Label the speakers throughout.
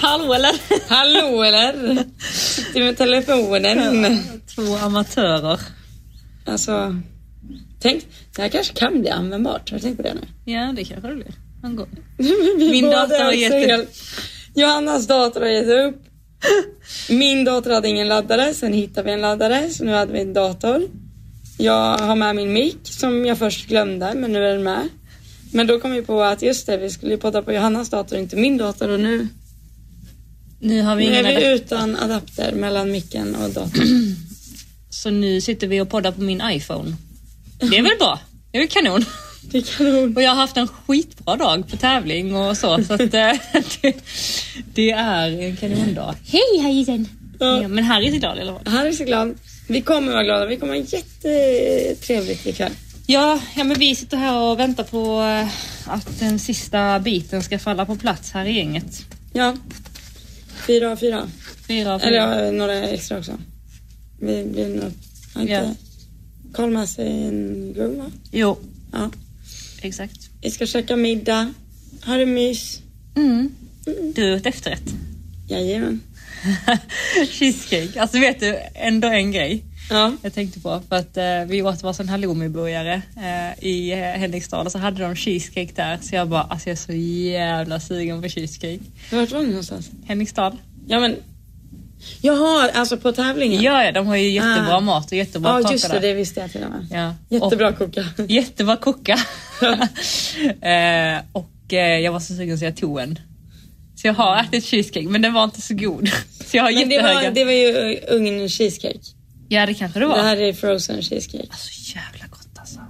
Speaker 1: Hallå eller?
Speaker 2: Hallå eller? Sitter med telefonen.
Speaker 1: Två amatörer.
Speaker 2: Alltså, tänk, det här kanske kan bli användbart. Har du tänkt på det nu?
Speaker 1: Ja, det kanske det blir. Han går.
Speaker 2: Vi
Speaker 1: Min
Speaker 2: båda
Speaker 1: dator har
Speaker 2: är
Speaker 1: gett
Speaker 2: sel. Johannas dator har gett upp. Min dator hade ingen laddare, sen hittade vi en laddare, så nu hade vi en dator. Jag har med min mick som jag först glömde, men nu är den med. Men då kom vi på att just det, vi skulle ju podda på Johannas dator, inte min dator och nu
Speaker 1: Nu har vi
Speaker 2: Nu är
Speaker 1: ingen
Speaker 2: vi
Speaker 1: adapter,
Speaker 2: utan adapter mellan micken och datorn.
Speaker 1: så nu sitter vi och poddar på min iPhone. Det är väl bra? Det är väl kanon?
Speaker 2: Det är kanon.
Speaker 1: Och jag har haft en skitbra dag på tävling och så, så att, eh, det, det är en kanondag. Hej Hajisen!
Speaker 2: Ja.
Speaker 1: Ja, men Harry är så glad eller vad?
Speaker 2: Han är så glad. Vi kommer vara glada. Vi kommer ha jättetrevligt ikväll.
Speaker 1: Ja, ja, men vi sitter här och väntar på eh, att den sista biten ska falla på plats här i gänget.
Speaker 2: Ja. Fyra av fyra.
Speaker 1: Fyra av fyra.
Speaker 2: Eller ja, några extra också. Vi blir nog... har inte-
Speaker 1: Ja.
Speaker 2: Karl med sig en grogg va?
Speaker 1: Jo,
Speaker 2: Ja.
Speaker 1: exakt.
Speaker 2: Vi ska käka middag. Ha det mys.
Speaker 1: Mm. Du åt efterrätt.
Speaker 2: Jajamän.
Speaker 1: Cheesecake. Alltså vet du, ändå en grej
Speaker 2: Ja.
Speaker 1: jag tänkte på. För att eh, vi åt varsin halloumiburgare eh, i eh, Henriksdal och så hade de cheesecake där. Så jag bara, alltså jag är så jävla sugen på cheesecake.
Speaker 2: Vart var ni någonstans?
Speaker 1: Henriksdal?
Speaker 2: Ja men... Jaha, alltså på tävlingen?
Speaker 1: Ja, ja, de har ju jättebra
Speaker 2: Ah.
Speaker 1: mat och jättebra
Speaker 2: Ja,
Speaker 1: kakor
Speaker 2: just det.
Speaker 1: där.
Speaker 2: Det visste jag till och med.
Speaker 1: Ja.
Speaker 2: Jättebra koka.
Speaker 1: Och, jättebra koka. eh, och eh, jag var så sugen så jag tog en. Så jag har ätit cheesecake men den var inte så god. Så jag har
Speaker 2: Men det
Speaker 1: jättehöga...
Speaker 2: var, det var ju ugn cheesecake.
Speaker 1: Ja det kanske det var.
Speaker 2: Det här är frozen cheesecake.
Speaker 1: Alltså jävla gott alltså.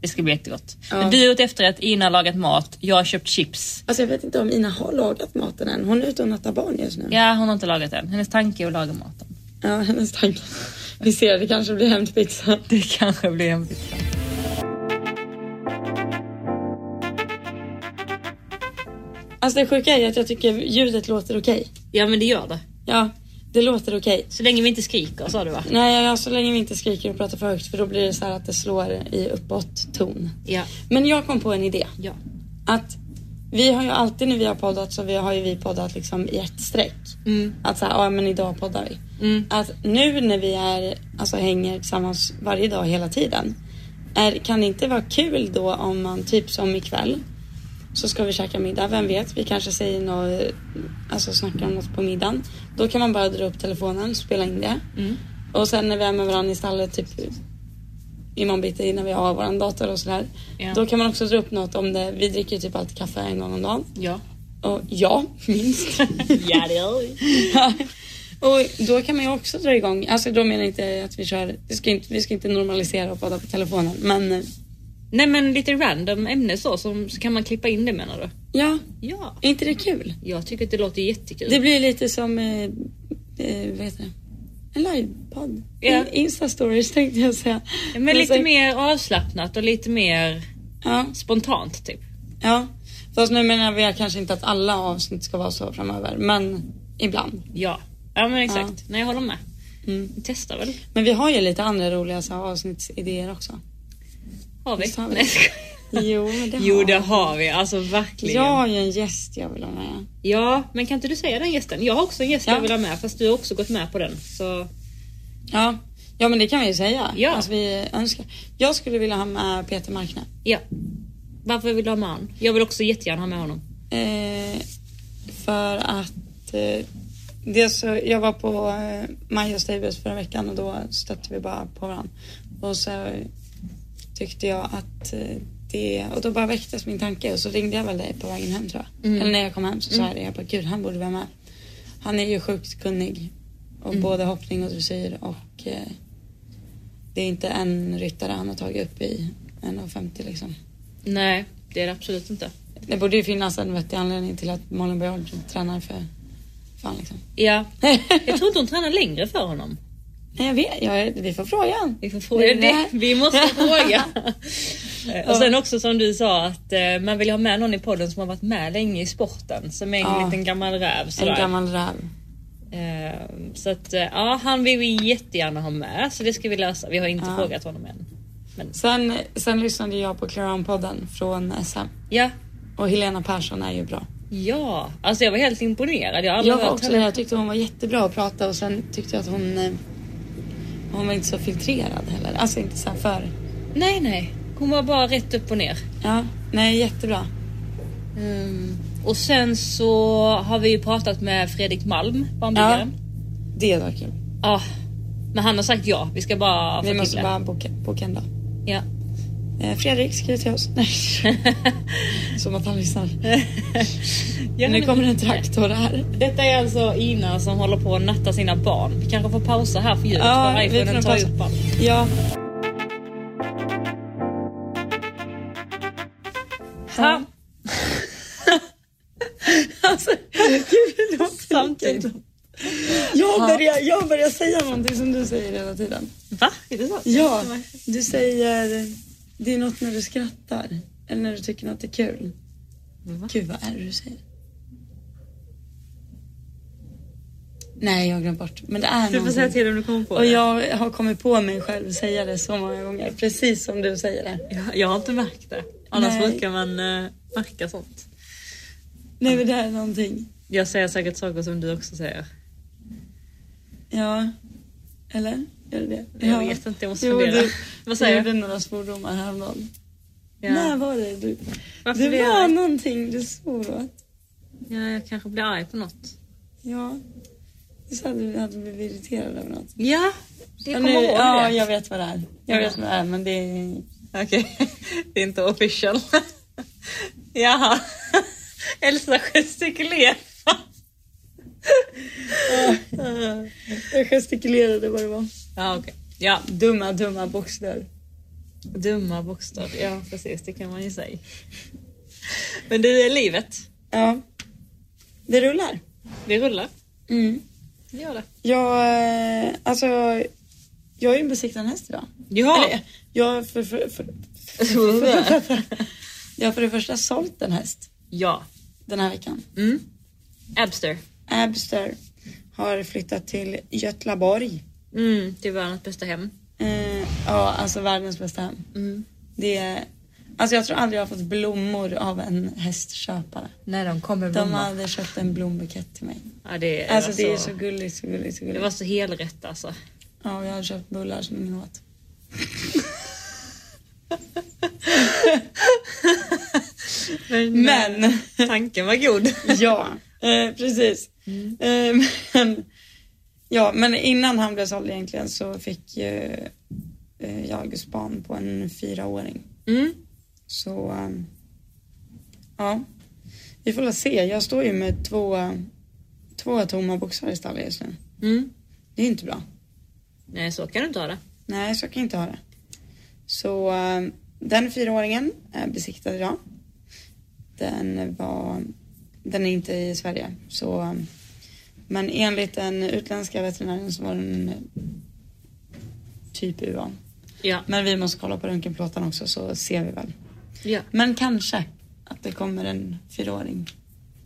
Speaker 1: Det ska bli jättegott.
Speaker 2: Ja.
Speaker 1: Men Du åt efterrätt, Ina har lagat mat, jag har köpt chips.
Speaker 2: Alltså jag vet inte om Ina har lagat maten än. Hon är ute och nattar barn just nu.
Speaker 1: Ja, hon har inte lagat än. Hennes tanke är att laga maten.
Speaker 2: Ja, hennes tanke. Vi ser, det kanske blir hämtpizza.
Speaker 1: Det kanske blir en pizza.
Speaker 2: Alltså det sjuka är att jag tycker ljudet låter okej.
Speaker 1: Ja men det gör det.
Speaker 2: Ja, det låter okej.
Speaker 1: Så länge vi inte skriker sa du va?
Speaker 2: Nej, ja, så länge vi inte skriker och pratar för högt för då blir det så här att det slår i uppåt ton.
Speaker 1: Ja.
Speaker 2: Men jag kom på en idé.
Speaker 1: ja.
Speaker 2: Att vi har ju alltid när vi har poddat så vi har ju vi poddat liksom i ett streck.
Speaker 1: Mm.
Speaker 2: Att så här, ja men idag poddar vi.
Speaker 1: Mm.
Speaker 2: Att nu när vi är, alltså hänger tillsammans varje dag hela tiden. Är, kan det inte vara kul då om man typ som ikväll. Så ska vi käka middag, vem vet? Vi kanske säger något, alltså snackar om något på middagen. Då kan man bara dra upp telefonen, spela in det.
Speaker 1: Mm.
Speaker 2: Och sen när vi är med varandra i stallet typ imorgon bitti när vi har vår dator och sådär.
Speaker 1: Ja.
Speaker 2: Då kan man också dra upp något om det. Vi dricker ju typ alltid kaffe en gång om dagen.
Speaker 1: Ja.
Speaker 2: Och ja, minst.
Speaker 1: ja det gör vi.
Speaker 2: Ja. Och då kan man ju också dra igång, alltså då menar jag inte att vi kör, vi ska inte, vi ska inte normalisera och podda på telefonen men eh,
Speaker 1: Nej men lite random ämne så, som, så kan man klippa in det menar du?
Speaker 2: ja,
Speaker 1: Ja.
Speaker 2: är inte det kul?
Speaker 1: Jag tycker att det låter jättekul.
Speaker 2: Det blir lite som, eh, eh, vad heter det? En livepodd.
Speaker 1: Ja.
Speaker 2: In- Insta-stories tänkte jag säga.
Speaker 1: Men lite
Speaker 2: så-
Speaker 1: mer avslappnat och lite mer
Speaker 2: Ja,
Speaker 1: spontant typ.
Speaker 2: ja. Fast nu menar vi kanske inte att alla avsnitt ska vara så framöver men ibland.
Speaker 1: Ja. Ja men exakt.
Speaker 2: Ja.
Speaker 1: Nej jag håller med.
Speaker 2: Mm.
Speaker 1: Vi testar väl.
Speaker 2: Men vi har ju lite andra roliga så här, avsnittsidéer också.
Speaker 1: Har vi?
Speaker 2: Visst har vi.
Speaker 1: Nej, skojar.
Speaker 2: Jo, men det
Speaker 1: Jo
Speaker 2: har
Speaker 1: det
Speaker 2: vi.
Speaker 1: har vi, alltså verkligen.
Speaker 2: Jag har ju en gäst jag vill ha med.
Speaker 1: Ja, men kan inte du säga den gästen? Jag har också en gäst
Speaker 2: Ja.
Speaker 1: jag vill ha med fast du har också gått med på den. Så...
Speaker 2: Ja, ja men det kan vi ju säga.
Speaker 1: Ja.
Speaker 2: Alltså, vi önskar. Jag skulle vilja ha med Peter Markne.
Speaker 1: Ja. Varför vill du ha med honom? Jag vill också jättegärna ha med honom.
Speaker 2: Eh, för att eh, dels så, jag var på eh, Maja Stables förra veckan och då stötte vi bara på varandra. Och så tyckte jag att eh, det, och då bara väcktes min tanke och så ringde jag väl dig på vägen hem tror jag.
Speaker 1: Mm.
Speaker 2: Eller när jag kom hem så sa jag det, jag bara gud han borde vara med. Han är ju sjukt kunnig. Och
Speaker 1: Mm.
Speaker 2: både hoppning och dressyr och eh, det är inte en ryttare han har tagit upp i 1,50 liksom.
Speaker 1: Nej, det är det absolut inte.
Speaker 2: Det borde ju finnas en vettig anledning till att Malin Björn tränar för fan liksom.
Speaker 1: Ja. Jag tror inte hon tränar längre för honom.
Speaker 2: Nej jag vet, jag, vi får frågan.
Speaker 1: Vi får fråga
Speaker 2: Det är
Speaker 1: det. Vi måste fråga. Eh, och sen också som du sa att eh, man vill ha med någon i podden som har varit med länge i sporten. Som är en
Speaker 2: Ja.
Speaker 1: liten gammal räv. Sådär.
Speaker 2: En gammal räv.
Speaker 1: Eh, Så att eh, ja, han vill vi jättegärna ha med så det ska vi lösa. Vi har inte
Speaker 2: Ja.
Speaker 1: frågat honom än. Men
Speaker 2: Sen, sen lyssnade jag på Clarion-podden från SM
Speaker 1: ja,
Speaker 2: och Helena Persson är ju bra.
Speaker 1: Ja, alltså jag var helt imponerad. Jag har aldrig
Speaker 2: Jag var
Speaker 1: hört
Speaker 2: också
Speaker 1: henne.
Speaker 2: Jag tyckte hon var jättebra att prata och sen tyckte jag att hon... eh, Hon var inte så filtrerad heller. Alltså inte så här för...
Speaker 1: Nej, nej. Hon var bara rätt upp och ner.
Speaker 2: Ja, nej jättebra.
Speaker 1: Mm. Och sen så har vi ju pratat med Fredrik Malm,
Speaker 2: Ja.
Speaker 1: barnbyggaren.
Speaker 2: Det var kul.
Speaker 1: Ja. Men han har sagt ja, vi ska bara få
Speaker 2: Vi
Speaker 1: till
Speaker 2: måste
Speaker 1: det.
Speaker 2: bara boka, boka en dag.
Speaker 1: Ja.
Speaker 2: Eh, Fredrik, skriv till oss. Nej. Som att han lyssnar. nu
Speaker 1: Ja, men-
Speaker 2: kommer en traktor här.
Speaker 1: Detta är alltså Ina som håller på att natta sina barn. Vi kanske får pausa här för ljudet
Speaker 2: Ja,
Speaker 1: för
Speaker 2: vi får
Speaker 1: iPhonen
Speaker 2: nog
Speaker 1: tar
Speaker 2: pausa.
Speaker 1: upp allt.
Speaker 2: Ja,
Speaker 1: Ha. alltså, gud, det samtidigt.
Speaker 2: jag börjar, jag börjar säga någonting som du säger hela tiden.
Speaker 1: Va? Är det så?
Speaker 2: Ja, du säger... Det är något när du skrattar. Eller när du tycker något är kul.
Speaker 1: Va?
Speaker 2: Gud, vad är det du säger? Nej, jag har glömt bort. Men det är
Speaker 1: Du får säga till om du kommer på
Speaker 2: Och
Speaker 1: det.
Speaker 2: jag har kommit på mig själv säga det så många gånger. Precis som du säger det.
Speaker 1: Jag, jag har inte märkt det. Annars
Speaker 2: Nej.
Speaker 1: brukar man eh, märka sånt.
Speaker 2: Nej, men det är någonting.
Speaker 1: Jag säger säkert saker som du också säger.
Speaker 2: Ja. Eller? Gör det det?
Speaker 1: Jag
Speaker 2: ja.
Speaker 1: vet inte, jag måste
Speaker 2: Jo,
Speaker 1: fundera.
Speaker 2: du-
Speaker 1: Vad
Speaker 2: Du
Speaker 1: säger
Speaker 2: gjorde
Speaker 1: du?
Speaker 2: några svordomar häromdagen. När
Speaker 1: Ja.
Speaker 2: var det du?
Speaker 1: Varför
Speaker 2: det
Speaker 1: blir jag
Speaker 2: var
Speaker 1: arg?
Speaker 2: någonting du svor åt.
Speaker 1: Ja, jag kanske blir arg på något.
Speaker 2: Ja. Du sa att du hade blivit irriterad över något.
Speaker 1: Ja, jag
Speaker 2: Ja,
Speaker 1: kommer
Speaker 2: nu-
Speaker 1: ihåg
Speaker 2: ja,
Speaker 1: det.
Speaker 2: jag vet vad det är. Jag vet vad det är, men det är...
Speaker 1: Okej, det är inte official. Jaha. Elsa gestikulerar.
Speaker 2: Jag gestikulerade vad det var.
Speaker 1: Ja, okej. Ja,
Speaker 2: Dumma, dumma bokstäver.
Speaker 1: dumma bokstäver. Ja, precis. Det kan man ju säga. Men du, är livet.
Speaker 2: Ja. Det rullar.
Speaker 1: Det rullar.
Speaker 2: Mm.
Speaker 1: Det gör det.
Speaker 2: Jag, eh, alltså, jag är ju besiktad en häst idag.
Speaker 1: Ja!
Speaker 2: Eller, jag, för, för, för, för, jag har för det första sålt en häst
Speaker 1: Ja.
Speaker 2: den här veckan.
Speaker 1: Mm. Abster.
Speaker 2: Abster har flyttat till Götlaborg.
Speaker 1: Mm, det är världens bästa hem.
Speaker 2: Eh, ja, alltså världens bästa hem.
Speaker 1: Mm.
Speaker 2: Det är, alltså jag tror aldrig jag har fått blommor av en hästköpare.
Speaker 1: När de kommer
Speaker 2: De hade köpt en blombukett till mig.
Speaker 1: Ja, det,
Speaker 2: Alltså
Speaker 1: var
Speaker 2: det är
Speaker 1: så,
Speaker 2: så gulligt, så gulligt, så
Speaker 1: det
Speaker 2: gulligt.
Speaker 1: var så helrätt alltså.
Speaker 2: Ja, och jag hade köpt bullar som ingen åt. Men,
Speaker 1: Tanken var god.
Speaker 2: ja, eh, precis.
Speaker 1: Mm.
Speaker 2: Eh, men, ja, men innan han blev såld egentligen så fick eh, eh, jag span på en fyraåring.
Speaker 1: Mm.
Speaker 2: Så ehm, ja, vi får väl se. Jag står ju med två, två tomma boxar i stallet just nu.
Speaker 1: Mm.
Speaker 2: Det är inte bra.
Speaker 1: Nej, så kan du inte ha det.
Speaker 2: Nej, så kan jag inte ha det. Så ehm, den fyraåringen är besiktad idag. Den var, den är inte i Sverige. Så, ehm, men enligt den utländska veterinären så var den eh, typ UA.
Speaker 1: Ja.
Speaker 2: Men vi måste kolla på röntgenplåten också så ser vi väl.
Speaker 1: ja.
Speaker 2: Men kanske att det kommer en fyraåring.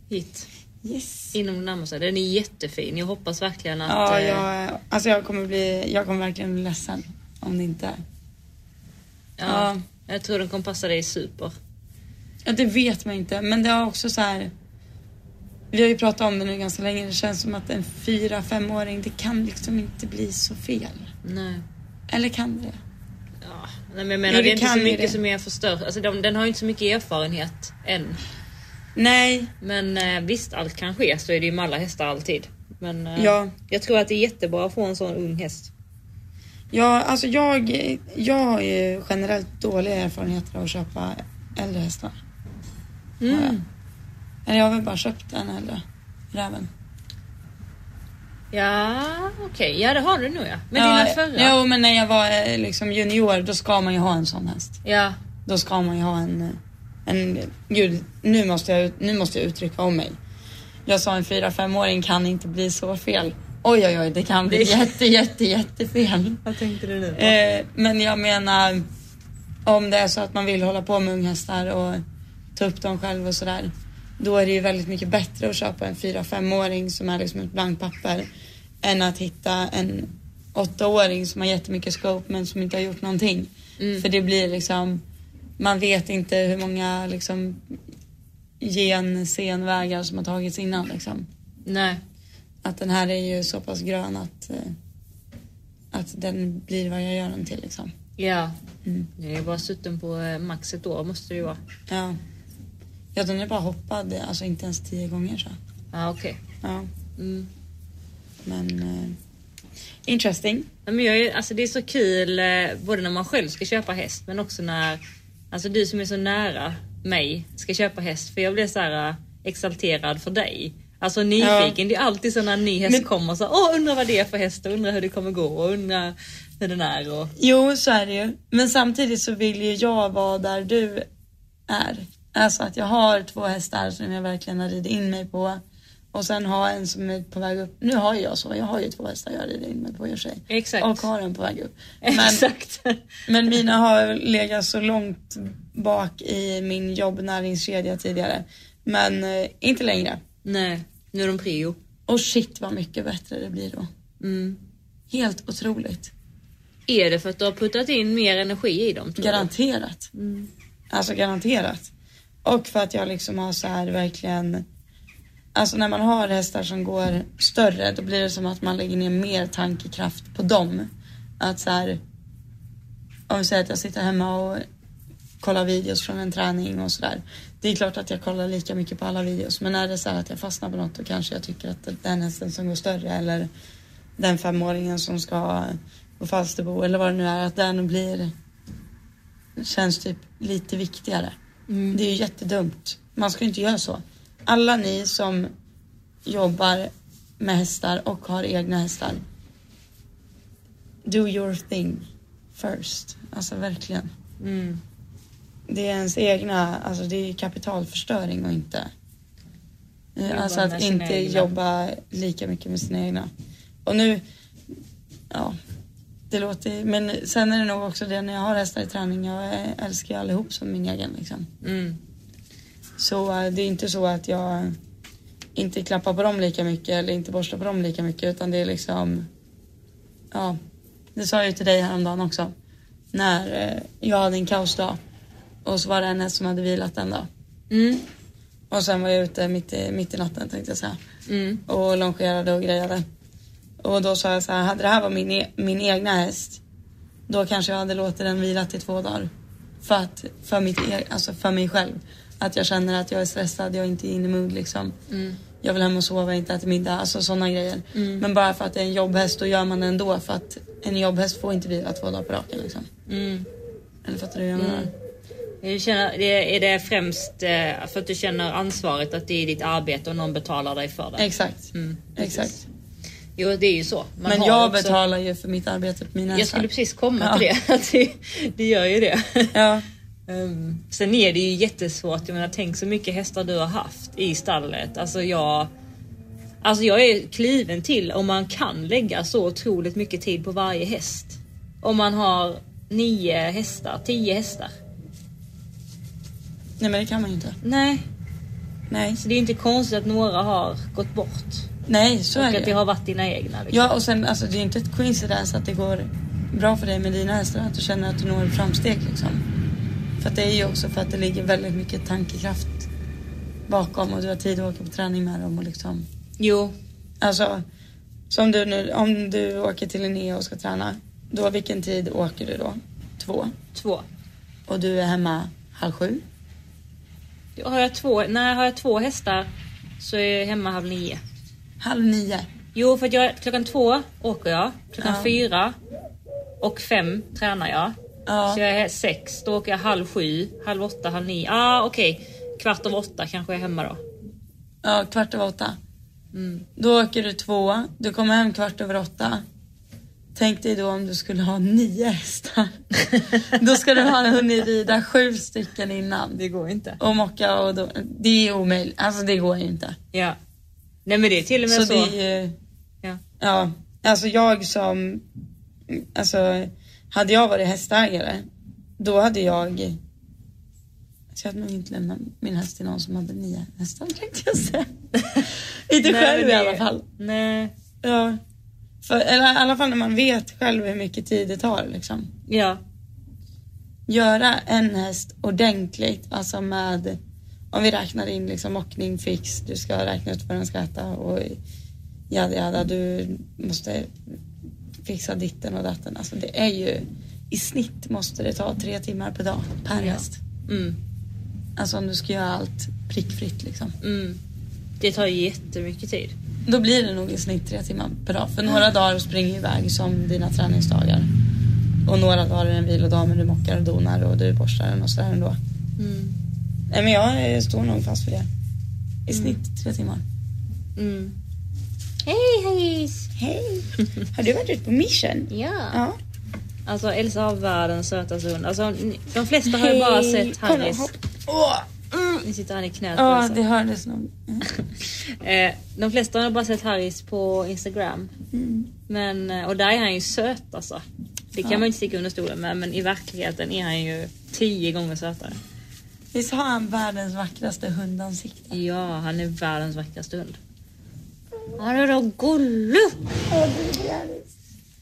Speaker 1: Hit.
Speaker 2: Yes.
Speaker 1: Inom den närmaste. Den är jättefin. Jag hoppas verkligen att...
Speaker 2: Ja,
Speaker 1: eh,
Speaker 2: jag, alltså jag kommer bli, jag kommer verkligen bli ledsen om det inte är.
Speaker 1: ja.
Speaker 2: ja.
Speaker 1: Jag tror den kommer passa dig super.
Speaker 2: Ja, det vet man inte, men det har också så här. Vi har ju pratat om det nu ganska länge. Det känns som att en fyra, femåring, det kan liksom inte bli så fel.
Speaker 1: Nej.
Speaker 2: Eller kan det?
Speaker 1: Ja. Nej, men jag menar,
Speaker 2: Jo,
Speaker 1: det
Speaker 2: det
Speaker 1: är inte så
Speaker 2: kan ju
Speaker 1: mycket
Speaker 2: det.
Speaker 1: som är förstört. Alltså, de, den har ju inte så mycket erfarenhet än.
Speaker 2: Nej,
Speaker 1: Men eh, visst, allt kan ske. Så är det ju med alla hästar alltid. Men eh,
Speaker 2: Ja.
Speaker 1: jag tror att det är jättebra att få en sån ung häst.
Speaker 2: Ja, alltså jag, jag har ju generellt dåliga erfarenheter av att köpa äldre hästar.
Speaker 1: Mm.
Speaker 2: Har jag. Eller jag har väl bara köpt en äldre. Räven.
Speaker 1: Ja, okej. Ja, det har du nog ja. Men
Speaker 2: ja,
Speaker 1: dina förra?
Speaker 2: Jo, men när jag var eh, liksom junior då ska man ju ha en sån häst.
Speaker 1: Ja.
Speaker 2: Då ska man ju ha en... eh, en gud, nu måste, jag, ut- nu måste jag uttrycka om mig. Jag sa en fyra femåring kan inte bli så fel. Oj, oj, oj, det kan bli
Speaker 1: Det-
Speaker 2: jätte, jätte, jättefel.
Speaker 1: Vad tänkte du nu?
Speaker 2: Eh, men jag menar om det är så att man vill hålla på med unghästar och ta upp dem själv och sådär. Då är det ju väldigt mycket bättre att köpa en 4-5-åring som är liksom ett blankt papper än att hitta en 8-åring som har jättemycket scope men som inte har gjort någonting.
Speaker 1: Mm.
Speaker 2: För det blir liksom, man vet inte hur många liksom gensenvägar som har tagits innan. Liksom.
Speaker 1: Nej.
Speaker 2: Att den här är ju så pass grön att, eh, att den blir vad jag gör den till. Liksom. Mm.
Speaker 1: Ja. Jag är bara sutten på eh, max ett år måste det ju vara.
Speaker 2: Ja. ja, den är bara hoppad, alltså inte ens tio gånger så.
Speaker 1: Ja, okej.
Speaker 2: Ja,
Speaker 1: Mm.
Speaker 2: men eh, interesting.
Speaker 1: Ja, men jag är, alltså det är så kul eh, både när man själv ska köpa häst men också när alltså du som är så nära mig ska köpa häst för jag blir så här eh, exalterad för dig. Alltså nyfiken. Det är alltid så när en ny häst
Speaker 2: Men-
Speaker 1: kommer så åh undrar vad det är för häst och undrar hur det kommer gå och undrar hur den är och
Speaker 2: Jo, så är det ju. Men samtidigt så vill ju jag vara där du är. Alltså att jag har två hästar som jag verkligen har ridit in mig på. Och sen ha en som är på väg upp. Nu har ju jag så, jag har ju två hästar jag rider in mig på i och för sig.
Speaker 1: Exakt.
Speaker 2: Och har en på väg upp. Men,
Speaker 1: exakt.
Speaker 2: men mina har legat så långt bak i min jobbnäringskedja tidigare. Men eh, inte längre.
Speaker 1: Nej, nu är de prio.
Speaker 2: Och shit vad mycket bättre det blir då.
Speaker 1: Mm.
Speaker 2: Helt otroligt.
Speaker 1: Är det för att du har puttat in mer energi i dem? Tror du?
Speaker 2: Garanterat.
Speaker 1: Mm.
Speaker 2: Alltså garanterat. Och för att jag liksom har så här verkligen... Alltså när man har hästar som går större då blir det som att man lägger ner mer tankekraft på dem. Att så här... Om vi säger att jag sitter hemma och kollar videos från en träning och sådär. Det är klart att jag kollar lika mycket på alla videos men är det så här att jag fastnar på något då kanske jag tycker att den hästen som går större eller den femåringen som ska på Falsterbo eller vad det nu är att den blir känns typ lite viktigare.
Speaker 1: Mm.
Speaker 2: Det är ju jättedumt. Man ska ju inte göra så. Alla ni som jobbar med hästar och har egna hästar. Do your thing first. Alltså verkligen.
Speaker 1: Mm.
Speaker 2: Det är ens egna, alltså det är kapitalförstöring och inte.
Speaker 1: Jobba
Speaker 2: alltså
Speaker 1: med
Speaker 2: att
Speaker 1: sina
Speaker 2: inte
Speaker 1: egna.
Speaker 2: jobba lika mycket med sina egna. Och nu, ja, det låter men sen är det nog också det när jag har hästar i träning, jag älskar ju allihop som min egen liksom.
Speaker 1: Mm.
Speaker 2: Så eh, det är inte så att jag inte klappar på dem lika mycket eller inte borstar på dem lika mycket utan det är liksom, ja, det sa jag ju till dig häromdagen också. När eh, jag hade en kaosdag och så var det en häst som hade vilat en dag.
Speaker 1: Mm.
Speaker 2: Och sen var jag ute mitt i, mitt i natten tänkte jag säga.
Speaker 1: Mm.
Speaker 2: Och longerade och grejade. Och då sa jag så här, hade det här varit min, e- min egna häst. Då kanske jag hade låtit den vila i två dagar. För, att, för, mitt e- alltså för mig själv. Att jag känner att jag är stressad, jag är inte in i mood liksom.
Speaker 1: Mm.
Speaker 2: Jag vill hem och sova, inte äta middag. Alltså sådana grejer.
Speaker 1: Mm.
Speaker 2: Men bara för att det är en jobbhäst, då gör man det ändå. För att en jobbhäst får inte vila två dagar på raken liksom. Mm.
Speaker 1: Mm.
Speaker 2: Eller fattar du hur jag menar?
Speaker 1: Jag känner, det- är det främst eh, för att du känner ansvaret att det är ditt arbete och någon betalar dig för det?
Speaker 2: Exakt.
Speaker 1: Mm.
Speaker 2: Exakt.
Speaker 1: Jo, det är ju så. Man
Speaker 2: Men
Speaker 1: har
Speaker 2: jag
Speaker 1: också-
Speaker 2: betalar ju för mitt arbete på mina
Speaker 1: Jag skulle precis komma
Speaker 2: Ja.
Speaker 1: till det. Att det. Det gör ju det.
Speaker 2: Ja.
Speaker 1: Ehm, sen är det ju jättesvårt. Jag menar, tänk så mycket hästar du har haft i stallet. Alltså jag, alltså jag är kliven till om man kan lägga så otroligt mycket tid på varje häst. Om man har nio hästar, tio hästar.
Speaker 2: Nej men det kan man ju inte.
Speaker 1: Nej,
Speaker 2: Nej,
Speaker 1: så det är inte konstigt att några har gått bort.
Speaker 2: nej så
Speaker 1: och
Speaker 2: är
Speaker 1: att det
Speaker 2: det.
Speaker 1: har varit dina egna. Liksom.
Speaker 2: Ja och sen alltså det är inte ett coincidence att det går bra för dig med dina hästar. Att du känner att du når framsteg liksom. För att det är ju också för att det ligger väldigt mycket tankekraft bakom och du har tid att åka på träning med dem och liksom.
Speaker 1: Jo,
Speaker 2: Alltså som du nu, om du åker till Linnea och ska träna. Då vilken tid åker du då? Två.
Speaker 1: två.
Speaker 2: Och du är hemma halv sju.
Speaker 1: Har jag två, nej, har jag två hästar så är jag hemma halv nio.
Speaker 2: Halv nio.
Speaker 1: Jo, för att jag, klockan två åker jag. Klockan
Speaker 2: Ja.
Speaker 1: fyra och fem tränar jag.
Speaker 2: Ja.
Speaker 1: Så jag är sex, då åker jag halv sju, halv åtta, halv nio. Ah, okej. Kvart över åtta kanske jag är hemma då.
Speaker 2: Ja, kvart över åtta.
Speaker 1: Mm.
Speaker 2: Då åker du två, du kommer hem kvart över åtta. Tänk dig då om du skulle ha nio hästar. då ska du ha hunnit rida sju stycken innan.
Speaker 1: Det går inte.
Speaker 2: Och mocka och då, Det är omöjligt, alltså det går ju inte.
Speaker 1: Ja. Nej men det är till och med
Speaker 2: Så
Speaker 1: så.
Speaker 2: det är ju,
Speaker 1: Ja.
Speaker 2: ja. Alltså jag som, alltså hade jag varit hästägare, då hade jag så jag hade nog inte lämnat min häst till någon som hade nio hästar tänkte jag säga. inte
Speaker 1: Nej, men
Speaker 2: själv i
Speaker 1: det-
Speaker 2: alla fall.
Speaker 1: Nej.
Speaker 2: Ja. För, eller, I alla fall när man vet själv hur mycket tid det tar. Liksom.
Speaker 1: Ja.
Speaker 2: Göra en häst ordentligt, alltså med... Om vi räknar in liksom mockning, fix, du ska räkna ut vad den ska äta och jada jada, du måste fixa ditten och datten. Alltså det är ju, i snitt måste det ta tre timmar per dag per
Speaker 1: Ja.
Speaker 2: häst.
Speaker 1: Mm.
Speaker 2: Alltså om du ska göra allt prickfritt liksom.
Speaker 1: Mm. Det tar ju jättemycket tid.
Speaker 2: Då blir det nog i snitt tre timmar per dag. För några dagar springer iväg som dina träningsdagar. Och några dagar är det en vilodag men du mockar och donar och du borstar den och sådär ändå.
Speaker 1: Mm.
Speaker 2: Nej men jag eh, står nog fast för det. I snitt tre timmar.
Speaker 1: Mm. Hej hejs!
Speaker 2: Hej! Har du varit ute på mission?
Speaker 1: Ja.
Speaker 2: Ja.
Speaker 1: Alltså Elsa har världens sötaste hund. Alltså, ni- de flesta har ju bara sett Harrys.
Speaker 2: Åh!
Speaker 1: Nu sitter han i knät på
Speaker 2: Ja,
Speaker 1: Elsa.
Speaker 2: det hördes nog.
Speaker 1: Eh, de flesta har bara sett Harris på Instagram.
Speaker 2: Mm.
Speaker 1: Men, eh, och där är han ju söt alltså. Det kan man ju inte sticka under stolen med men i verkligheten är han ju tio gånger sötare.
Speaker 2: Visst har han världens vackraste hundansikte?
Speaker 1: Ja, han är världens vackraste hund. Han är då gullig!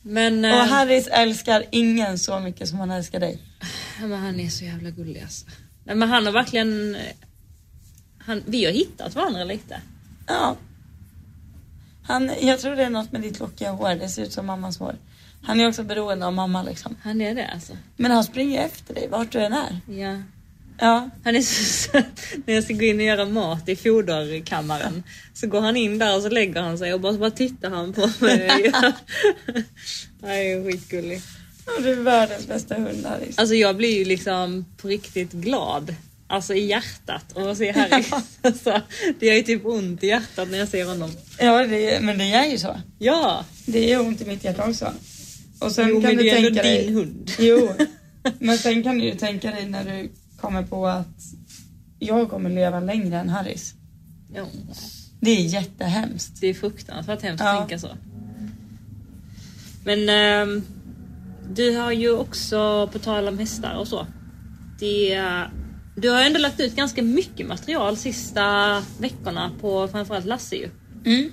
Speaker 1: Men, eh,
Speaker 2: Och Harris älskar ingen så mycket som han älskar dig.
Speaker 1: men han är så jävla gullig alltså. Nej, men han har verkligen... eh, Han, vi har hittat varandra lite.
Speaker 2: Ja. Han, jag tror det är något med ditt lockiga hår. Det ser ut som mammas hår. Han är också beroende av mamma liksom.
Speaker 1: Han är det alltså.
Speaker 2: Men han springer efter dig vart du än är.
Speaker 1: Ja.
Speaker 2: Ja.
Speaker 1: Han är så söt. När jag ska gå in och göra mat i foderkammaren så går han in där och så lägger han sig och bara, bara tittar han på mig. Han är ju skitgullig.
Speaker 2: Och du är världens bästa hund Harris.
Speaker 1: Alltså jag blir ju liksom på riktigt glad. Alltså i hjärtat och att se Harry. Alltså, det gör ju typ ont i hjärtat när jag ser honom.
Speaker 2: Ja, det, men det är ju så.
Speaker 1: Ja!
Speaker 2: Det gör ont i mitt hjärta också. Och sen
Speaker 1: jo
Speaker 2: kan
Speaker 1: men
Speaker 2: du
Speaker 1: det är ändå
Speaker 2: tänka
Speaker 1: din
Speaker 2: dig...
Speaker 1: hund.
Speaker 2: Jo, men sen kan du ju tänka dig när du kommer på att jag kommer leva längre än Harris.
Speaker 1: Ja,
Speaker 2: Det är jättehemskt.
Speaker 1: det är fruktansvärt hemskt
Speaker 2: Ja.
Speaker 1: att tänka så. Men ehm, du har ju också, på tal om hästar och så. Det, du har ändå lagt ut ganska mycket material sista veckorna på framförallt Lasse ju.
Speaker 2: Mm.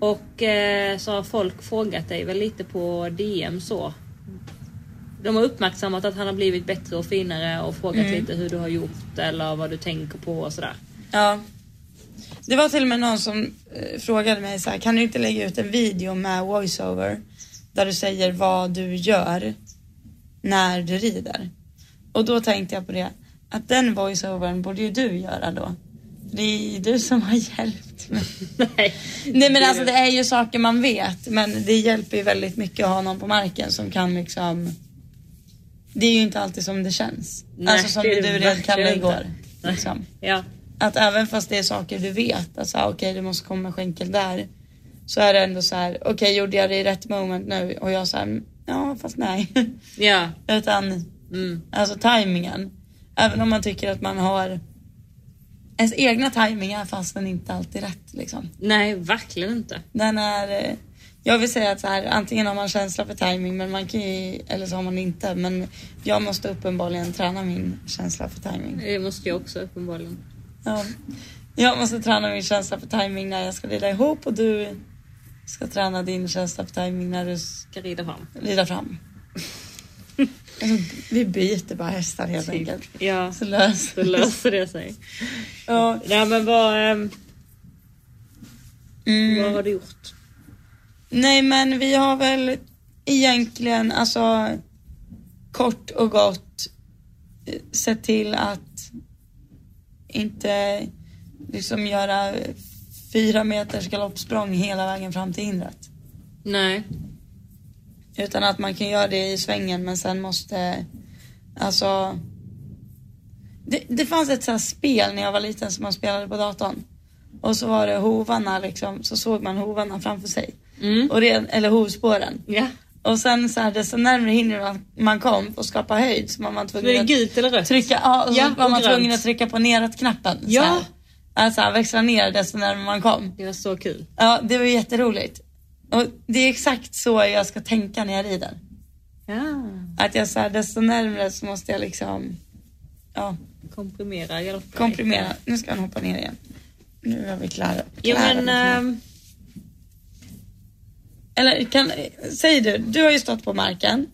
Speaker 1: Och eh, så har folk frågat dig väl lite på DM så. De har uppmärksammat att han har blivit bättre och finare och frågat
Speaker 2: Mm.
Speaker 1: lite hur du har gjort eller vad du tänker på och sådär.
Speaker 2: Ja. Det var till och med någon som eh, frågade mig så här, kan du inte lägga ut en video med voiceover där du säger vad du gör när du rider? Och då tänkte jag på det, att den voiceovern borde ju du göra då. Det är ju du som har hjälpt mig.
Speaker 1: Nej.
Speaker 2: Nej men alltså det är ju saker man vet men det hjälper ju väldigt mycket att ha någon på marken som kan liksom Det är ju inte alltid som det känns.
Speaker 1: Nej,
Speaker 2: alltså som
Speaker 1: det
Speaker 2: du
Speaker 1: är det
Speaker 2: redan kallade
Speaker 1: verkligen
Speaker 2: igår.
Speaker 1: inte.
Speaker 2: Liksom.
Speaker 1: Ja.
Speaker 2: Att även fast det är saker du vet, alltså okej du måste komma med skänkel där. Så är det ändå så här, okej gjorde jag det i rätt moment nu? Och jag säger ja fast nej.
Speaker 1: Ja.
Speaker 2: Utan
Speaker 1: Mm.
Speaker 2: Alltså tajmingen. Även om man tycker att man har ens egna tajmingar fast den inte alltid rätt liksom.
Speaker 1: Nej, verkligen inte.
Speaker 2: Den är, eh, jag vill säga att så här, antingen har man känsla för timing men man kan ju, eller så har man inte. Men jag måste uppenbarligen träna min känsla för timing.
Speaker 1: Det måste jag också uppenbarligen.
Speaker 2: Ja. Jag måste träna min känsla för timing när jag ska rida ihop och du ska träna din känsla för timing när du s-
Speaker 1: Ska rida fram.
Speaker 2: rida fram. alltså, vi byter bara hästar helt
Speaker 1: Typ.
Speaker 2: enkelt.
Speaker 1: Ja,
Speaker 2: Så löser
Speaker 1: så löser det sig.
Speaker 2: Ja.
Speaker 1: Nej men vad, ehm,
Speaker 2: Mm.
Speaker 1: vad har du gjort?
Speaker 2: Nej men vi har väl egentligen alltså kort och gott eh, sett till att inte liksom göra fyra meters galoppsprång hela vägen fram till hindret.
Speaker 1: Nej.
Speaker 2: Utan att man kan göra det i svängen men sen måste, alltså. Det, det fanns ett så här spel när jag var liten som man spelade på datorn. Och så var det hovarna liksom, så såg man hovarna framför sig.
Speaker 1: Mm.
Speaker 2: Och ren, eller hovspåren.
Speaker 1: Ja.
Speaker 2: Och sen så här, desto närmare hindret man, man kom och skapa höjd så man var
Speaker 1: Men är
Speaker 2: tvungen
Speaker 1: det
Speaker 2: att
Speaker 1: gult eller rött?
Speaker 2: trycka, ja, och så
Speaker 1: Ja,
Speaker 2: var
Speaker 1: och
Speaker 2: man
Speaker 1: grönt.
Speaker 2: tvungen att trycka på neråt-knappen.
Speaker 1: Ja.
Speaker 2: Så här. Alltså här, växla ner desto närmare man kom.
Speaker 1: Det var så kul.
Speaker 2: Ja, det var jätteroligt. Och det är exakt så jag ska tänka när jag rider.
Speaker 1: Ja.
Speaker 2: Att jag så här, desto närmre så måste jag liksom, ja,
Speaker 1: Komprimera galoppen.
Speaker 2: komprimera. Nu ska han hoppa ner igen. Nu är vi klara.
Speaker 1: Jo
Speaker 2: klara med
Speaker 1: men,
Speaker 2: knä.
Speaker 1: ehm,
Speaker 2: Eller kan, säg du, du har ju stått på marken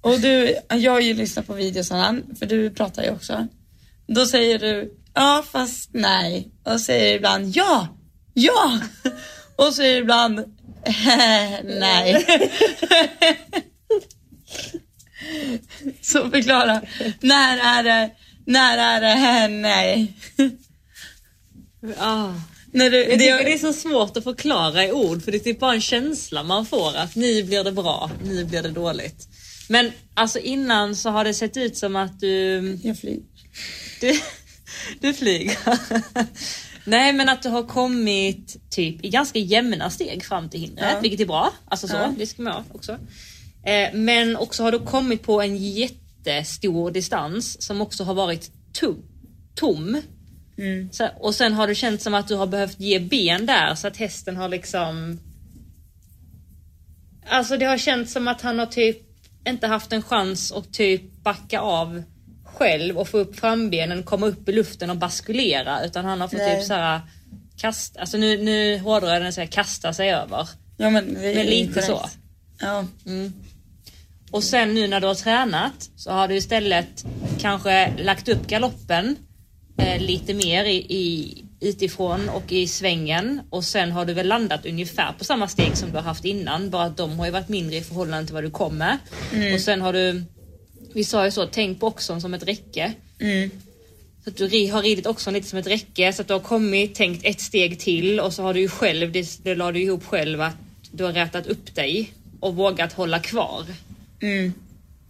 Speaker 2: och du, jag har ju lyssnat på videosarna, för du pratar ju också. Då säger du, ja ja fast nej. Och så är det ibland ja, ja. Och så är det ibland nej. så förklara. När är det, när är det nej?
Speaker 1: Ah.
Speaker 2: När du,
Speaker 1: Jag tycker
Speaker 2: det,
Speaker 1: det är så svårt att förklara i ord för det är typ bara en känsla man får att nu blir det bra, nu blir det dåligt. Men alltså innan så har det sett ut som att du,
Speaker 2: jag flyr.
Speaker 1: du, du flyger. Nej men att du har kommit typ i ganska jämna steg fram till hindret,
Speaker 2: Ja.
Speaker 1: vilket är bra. Alltså så,
Speaker 2: Ja.
Speaker 1: det ska man ha också. Eh, men också har du kommit på en jättestor distans som också har varit tom. tom. Så, och sen har du känt som att du har behövt ge ben där så att hästen har liksom... Alltså det har känts som att han har typ inte haft en chans att typ backa av själv och få upp frambenen, komma upp i luften och baskulera utan han har fått
Speaker 2: Nej.
Speaker 1: typ såhär kasta, alltså nu, nu hårdrar jag den och säger kasta sig över.
Speaker 2: Ja men det är
Speaker 1: Men lite
Speaker 2: inkorrekt.
Speaker 1: så.
Speaker 2: Ja.
Speaker 1: Och sen nu när du har tränat så har du istället kanske lagt upp galoppen eh, lite mer i, i, utifrån och i svängen och sen har du väl landat ungefär på samma steg som du har haft innan bara att de har ju varit mindre i förhållande till vad du kom med. Och sen har du, vi sa ju så, tänk på oxen som ett räcke.
Speaker 2: Mm.
Speaker 1: Så att du ri- har ridit också lite som ett räcke så att du har kommit, tänkt ett steg till och så har du ju själv, det, det la du ihop själv att du har rätat upp dig och vågat hålla kvar.
Speaker 2: Mm.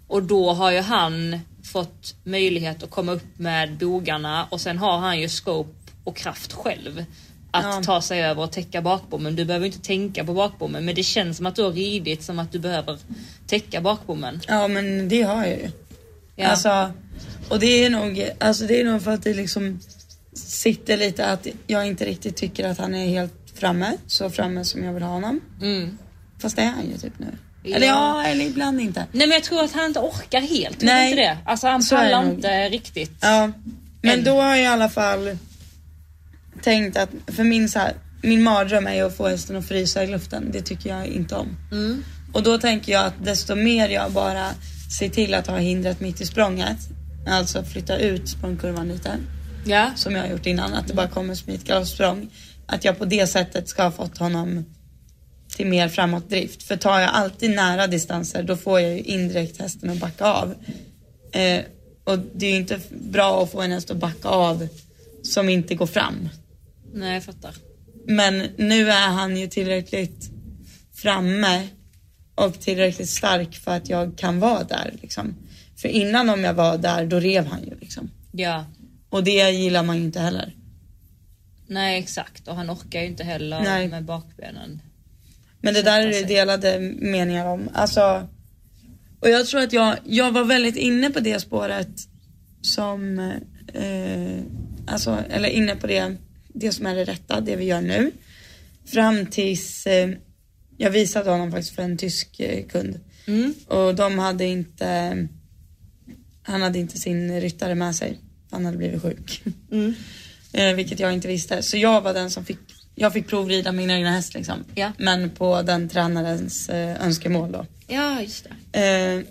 Speaker 1: Och då har ju han fått möjlighet att komma upp med bogarna och sen har han ju scope och kraft själv att
Speaker 2: Ja.
Speaker 1: ta sig över och täcka bakbommen. Du behöver inte tänka på bakbommen men det känns som att du har ridit som att du behöver täcka bakbommen.
Speaker 2: Ja men det har jag ju.
Speaker 1: Ja.
Speaker 2: Alltså, och det är, nog, alltså det är nog för att det liksom sitter lite att jag inte riktigt tycker att han är helt framme, så framme som jag vill ha honom.
Speaker 1: Mm.
Speaker 2: Fast det är han ju typ nu.
Speaker 1: Ja.
Speaker 2: Eller ja, eller ibland inte.
Speaker 1: Nej men jag tror att han inte orkar helt. Nej.
Speaker 2: Nej.
Speaker 1: Inte det. Alltså han
Speaker 2: Så är det
Speaker 1: pallar
Speaker 2: nog.
Speaker 1: inte riktigt.
Speaker 2: Ja, men
Speaker 1: Än.
Speaker 2: då har jag i alla fall tänkt att, för min, så här, min mardröm är ju att få hästen att frysa i luften. Det tycker jag inte om.
Speaker 1: Mm.
Speaker 2: Och då tänker jag att desto mer jag bara ser till att ha hindret mitt i språnget, alltså flytta ut språngkurvan lite.
Speaker 1: Ja.
Speaker 2: som jag har gjort innan, att det bara kommer som ett galoppsprång. Att jag på det sättet ska ha fått honom till mer framåtdrift. För tar jag alltid nära distanser då får jag ju indirekt hästen att backa av. Eh, och det är ju inte bra att få en häst att backa av som inte går fram.
Speaker 1: Nej jag fattar.
Speaker 2: Men nu är han ju tillräckligt framme och tillräckligt stark för att jag kan vara där. Liksom. För innan om jag var där då rev han ju. Liksom.
Speaker 1: Ja.
Speaker 2: Och det gillar man ju inte heller.
Speaker 1: Nej exakt och han orkar ju inte heller
Speaker 2: Nej.
Speaker 1: med bakbenen.
Speaker 2: Men det där är
Speaker 1: Sätta
Speaker 2: det
Speaker 1: sig.
Speaker 2: delade meningar om. Alltså, och jag tror att jag, jag var väldigt inne på det spåret som, eh, alltså, eller inne på det, det som är det rätta, det vi gör nu. Fram tills eh, jag visade honom faktiskt för en tysk eh, kund.
Speaker 1: Mm.
Speaker 2: Och de hade inte, han hade inte sin ryttare med sig. Han hade blivit sjuk.
Speaker 1: Mm.
Speaker 2: Eh, vilket jag inte visste. Så jag var den som fick, jag fick provrida min egna häst liksom.
Speaker 1: Ja.
Speaker 2: Men på den tränarens eh, önskemål då.
Speaker 1: Ja just det.
Speaker 2: Eh,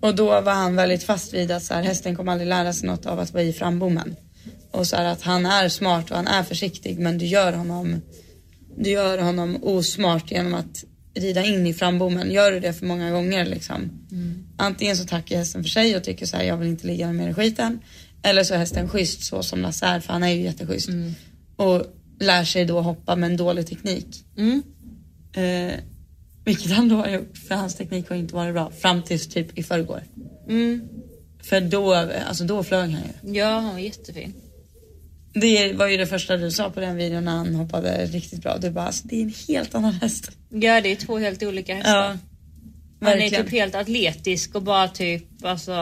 Speaker 2: och då var han väldigt fast vid att så här, hästen kommer aldrig lära sig något av att vara i frambommen. Och så här, att han är smart och han är försiktig men du gör honom, du gör honom osmart genom att rida in i frambommen. Gör du det för många gånger liksom. Antingen så tackar hästen för sig och tycker så här, jag vill inte ligga med mer i skiten. Eller så är hästen schysst så som Lasse är för han är ju jätteschysst. Och lär sig då hoppa med en dålig teknik.
Speaker 1: Mm.
Speaker 2: Eh, vilket han då har gjort, för hans teknik har inte varit bra fram tills typ i förrgår.
Speaker 1: Mm.
Speaker 2: För då, alltså då flög han ju.
Speaker 1: Ja han var jättefin.
Speaker 2: Det var ju det första du sa på den videon när han hoppade riktigt bra. Du bara, alltså, det är en helt annan häst.
Speaker 1: Ja det är två helt olika hästar. Han är
Speaker 2: verkligen.
Speaker 1: typ helt atletisk och bara typ alltså,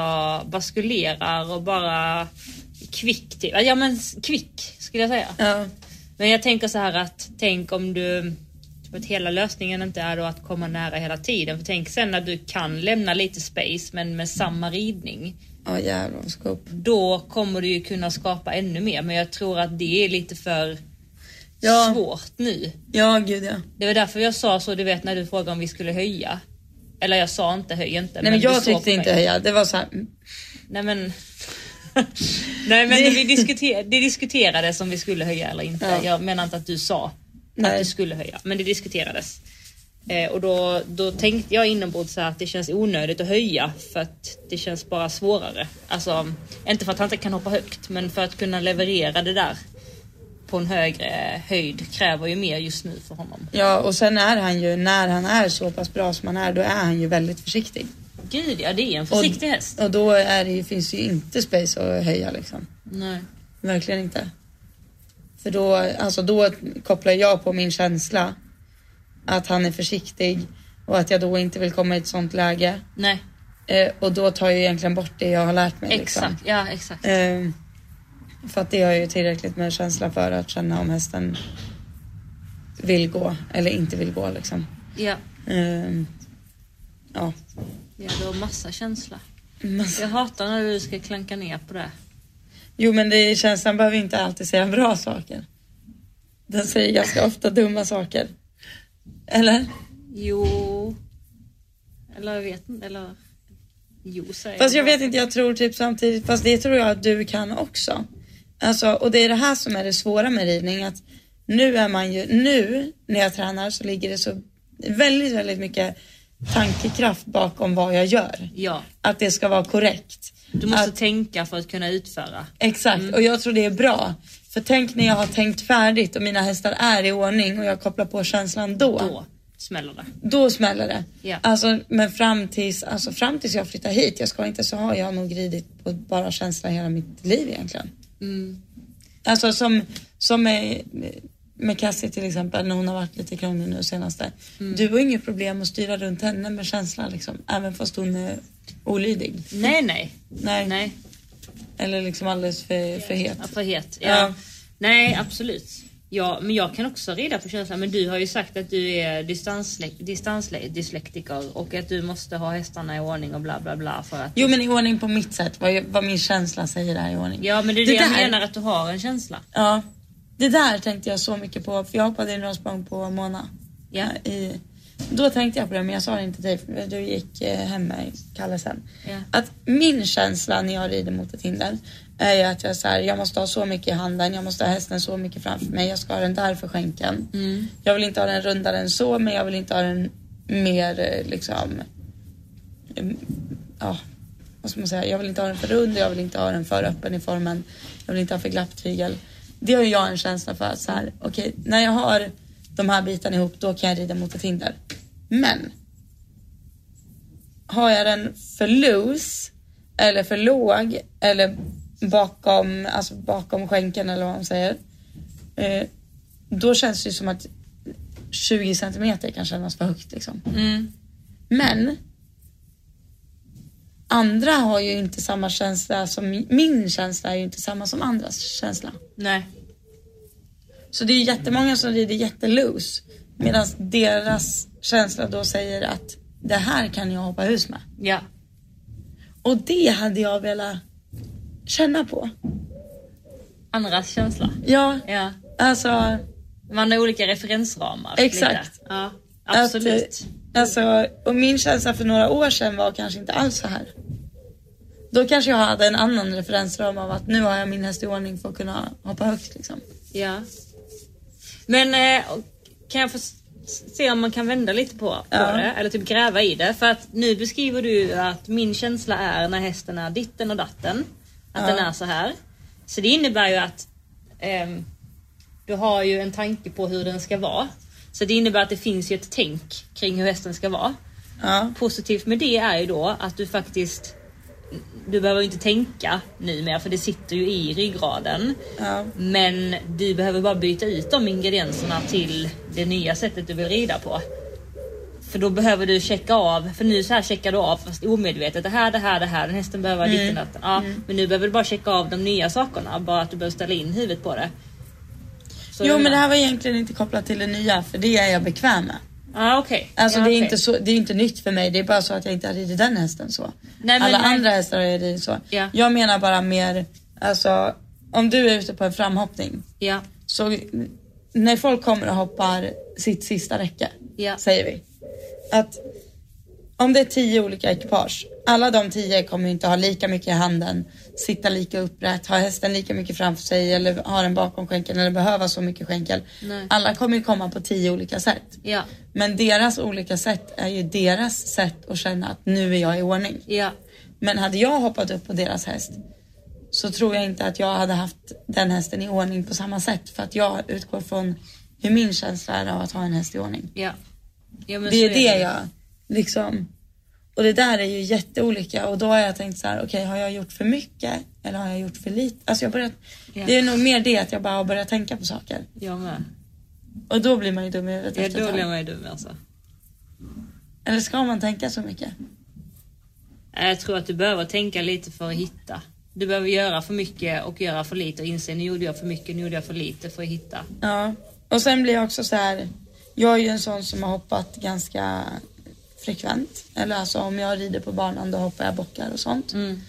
Speaker 1: baskulerar och bara kvick. Typ. Ja men s- kvick skulle jag säga.
Speaker 2: Ja,
Speaker 1: Men jag tänker så här att tänk om du typ att hela lösningen inte är då att komma nära hela tiden. För tänk sen när du kan lämna lite space men med samma ridning.
Speaker 2: ja jävlar vad skop.
Speaker 1: Då kommer du ju kunna skapa ännu mer men jag tror att det är lite för
Speaker 2: Ja.
Speaker 1: svårt nu.
Speaker 2: Ja, gud ja.
Speaker 1: Det var därför jag sa så du vet när du frågade om vi skulle höja. Eller jag sa inte höj inte.
Speaker 2: Nej men
Speaker 1: du
Speaker 2: jag
Speaker 1: såg på
Speaker 2: tyckte
Speaker 1: mig.
Speaker 2: inte höja. Det var så här, mm,
Speaker 1: Nej men Nej men
Speaker 2: Det-
Speaker 1: vi diskuter- det diskuterades om vi skulle höja eller inte.
Speaker 2: Ja.
Speaker 1: Jag menar inte att du sa att
Speaker 2: Nej.
Speaker 1: du skulle höja, men det diskuterades. Eh, och då, då tänkte jag inombords så här att det känns onödigt att höja för att det känns bara svårare. Alltså, inte för att han inte kan hoppa högt, men för att kunna leverera det där på en högre höjd kräver ju mer just nu för honom.
Speaker 2: Ja, och sen är han ju, när han är så pass bra som han är, då är han ju väldigt försiktig.
Speaker 1: Gud ja, det är en försiktig häst.
Speaker 2: Och då är det, ju- finns ju inte space att höja liksom.
Speaker 1: Nej.
Speaker 2: Verkligen inte. För då, alltså då kopplar jag på min känsla att han är försiktig och att jag då inte vill komma i ett sånt läge.
Speaker 1: Nej,
Speaker 2: Eh, och då tar jag egentligen bort det jag har lärt mig. Liksom.
Speaker 1: exakt. Ja, exakt.
Speaker 2: Eh, för att det har jag ju tillräckligt med känsla för att känna om hästen vill gå eller inte vill gå liksom.
Speaker 1: Ja,
Speaker 2: Eh, ja,
Speaker 1: ja du har massa känsla.
Speaker 2: massa.
Speaker 1: Jag hatar när du ska klanka ner på det.
Speaker 2: Jo men det är, känslan behöver inte alltid säga bra saker. Den säger ganska ofta dumma saker. Eller?
Speaker 1: Jo... Eller jag vet inte, eller... Jo säger
Speaker 2: Fast jag vet inte, jag tror typ samtidigt, fast det tror jag att du kan också. Alltså, och det är det här som är det svåra med ridning, att nu är man ju, nu när jag tränar så ligger det så väldigt, väldigt mycket tankekraft bakom vad jag gör.
Speaker 1: Ja,
Speaker 2: Att det ska vara korrekt.
Speaker 1: du måste
Speaker 2: att,
Speaker 1: tänka för att kunna utföra.
Speaker 2: exakt,
Speaker 1: Mm.
Speaker 2: och jag tror det är bra. För tänk när jag har tänkt färdigt och mina hästar är i ordning och jag kopplar på känslan då.
Speaker 1: Då smäller det.
Speaker 2: Då smäller det.
Speaker 1: Ja.
Speaker 2: Alltså, men fram tills, alltså, fram tills jag flyttar hit, jag ska inte så har jag nog ridit på bara känslan hela mitt liv egentligen.
Speaker 1: Mm.
Speaker 2: Alltså som, som med, med Cassie till exempel, när hon har varit lite krånglig nu senaste.
Speaker 1: Mm.
Speaker 2: Du har inget problem att styra runt henne med känslan liksom, även fast hon är olydig.
Speaker 1: Nej, nej.
Speaker 2: Nej.
Speaker 1: Nej,
Speaker 2: Eller liksom alldeles för, för het.
Speaker 1: ja, för het. Ja.
Speaker 2: Ja.
Speaker 1: Nej, absolut. Ja, men jag kan också rida på känslan. Men du har ju sagt att du är distansle- distansdyslektiker och att du måste ha hästarna i ordning och bla bla bla för att...
Speaker 2: Jo men i ordning på mitt sätt, vad, jag- vad min känsla säger är i ordning.
Speaker 1: Ja, men det är det, jag
Speaker 2: där-
Speaker 1: menar att du har en känsla.
Speaker 2: Ja, det där tänkte jag så mycket på för jag hoppade in några språng på Mona.
Speaker 1: Ja.
Speaker 2: I, då tänkte jag på det men jag sa det inte till dig för du gick eh, hem med Kalle sen.
Speaker 1: Ja.
Speaker 2: Att min känsla när jag rider mot ett hinder är ju att jag, så här, jag måste ha så mycket i handen, jag måste ha hästen så mycket framför mig, jag ska ha den där för skänken. Jag vill inte ha den rundare än så men jag vill inte ha den mer eh, liksom Mm, ja, vad ska man säga? Jag vill inte ha den för rund, jag vill inte ha den för öppen i formen. Jag vill inte ha för glapp tygel. Det har ju jag en känsla för att så här, okej, när jag har de här bitarna ihop, då kan jag rida mot ett hinder. Men. Har jag den för loose eller för låg eller bakom, alltså bakom skänken eller vad man säger. Eh, då känns det ju som att 20 centimeter kan kännas för högt liksom.
Speaker 1: Mm.
Speaker 2: Men andra har ju inte samma känsla som min känsla är ju inte samma som andras känsla.
Speaker 1: Nej.
Speaker 2: Så det är ju jättemånga som rider jätteloose medan deras känsla då säger att det här kan jag hoppa hus med.
Speaker 1: Ja.
Speaker 2: Och det hade jag velat känna på.
Speaker 1: Andras känsla.
Speaker 2: Ja,
Speaker 1: Ja.
Speaker 2: alltså,
Speaker 1: Man har olika referensramar.
Speaker 2: Exakt.
Speaker 1: Lite. Ja, absolut.
Speaker 2: Att, eh, alltså, och min känsla för några år sedan var kanske inte alls så här. Då kanske jag hade en annan referensram av att nu har jag min häst i ordning för att kunna hoppa högt liksom.
Speaker 1: Ja. Men eh, och- kan jag få s- se om man kan vända lite på, på
Speaker 2: Ja.
Speaker 1: det? Eller typ gräva i det. För att nu beskriver du att min känsla är när hästen är ditten och datten. Att
Speaker 2: Ja.
Speaker 1: den är så här. Så det innebär ju att ehm, du har ju en tanke på hur den ska vara. Så det innebär att det finns ju ett tänk kring hur hästen ska vara.
Speaker 2: Ja.
Speaker 1: Positivt med det är ju då att du faktiskt du behöver ju inte tänka numera för det sitter ju i ryggraden.
Speaker 2: Ja.
Speaker 1: Men du behöver bara byta ut de ingredienserna till det nya sättet du vill rida på. För då behöver du checka av, för nu så här checkar du av fast omedvetet. Det här, det här, det här. Den hästen behöver mm. lite natten. Ja, Men nu behöver du bara checka av de nya sakerna. Bara att du behöver ställa in huvudet på det. Så
Speaker 2: Jo
Speaker 1: du-
Speaker 2: men det här var egentligen inte kopplat till det nya för det är jag bekväm med.
Speaker 1: Ja, okej.
Speaker 2: Alltså
Speaker 1: ja,
Speaker 2: det, är
Speaker 1: okej.
Speaker 2: inte så, det är inte nytt för mig, det är bara så att jag inte har ridit den hästen så.
Speaker 1: Nej, men
Speaker 2: Alla
Speaker 1: nej.
Speaker 2: andra hästar har jag ridit så.
Speaker 1: Ja.
Speaker 2: Jag menar bara mer, alltså om du är ute på en framhoppning
Speaker 1: Ja,
Speaker 2: Så när folk kommer och hoppar sitt sista räcke,
Speaker 1: Ja.
Speaker 2: säger vi. Att om det är tio olika ekipage alla de tio kommer ju inte ha lika mycket i handen, sitta lika upprätt, ha hästen lika mycket framför sig eller ha den bakom skänkeln eller behöva så mycket skänkel.
Speaker 1: Nej.
Speaker 2: Alla kommer ju komma på tio olika sätt.
Speaker 1: Ja,
Speaker 2: Men deras olika sätt är ju deras sätt att känna att nu är jag i ordning.
Speaker 1: ja,
Speaker 2: Men hade jag hoppat upp på deras häst så tror jag inte att jag hade haft den hästen i ordning på samma sätt för att jag utgår från hur min känsla är av att ha en häst i ordning.
Speaker 1: ja. ja men
Speaker 2: Det
Speaker 1: så
Speaker 2: är det jag liksom... Och det där är ju jätteolika och då har jag tänkt så här, okej har jag gjort för mycket eller har jag gjort för lite? Alltså jag har börjat,
Speaker 1: Ja.
Speaker 2: Det är nog mer det att jag bara har börjat tänka på saker.
Speaker 1: Jag med.
Speaker 2: Och då blir man ju dum i huvudet
Speaker 1: Ja,
Speaker 2: efter ett
Speaker 1: då
Speaker 2: tag.
Speaker 1: blir man ju dum alltså.
Speaker 2: Eller ska man tänka så mycket?
Speaker 1: Eh, Jag tror att du behöver tänka lite för att hitta. Du behöver göra för mycket och göra för lite och inse nu gjorde jag för mycket, nu gjorde jag för lite för att hitta.
Speaker 2: Ja, och sen blir jag också så här. Jag är ju en sån som har hoppat ganska frekvent. Eller alltså om jag rider på banan då hoppar jag bockar och sånt.
Speaker 1: Mm.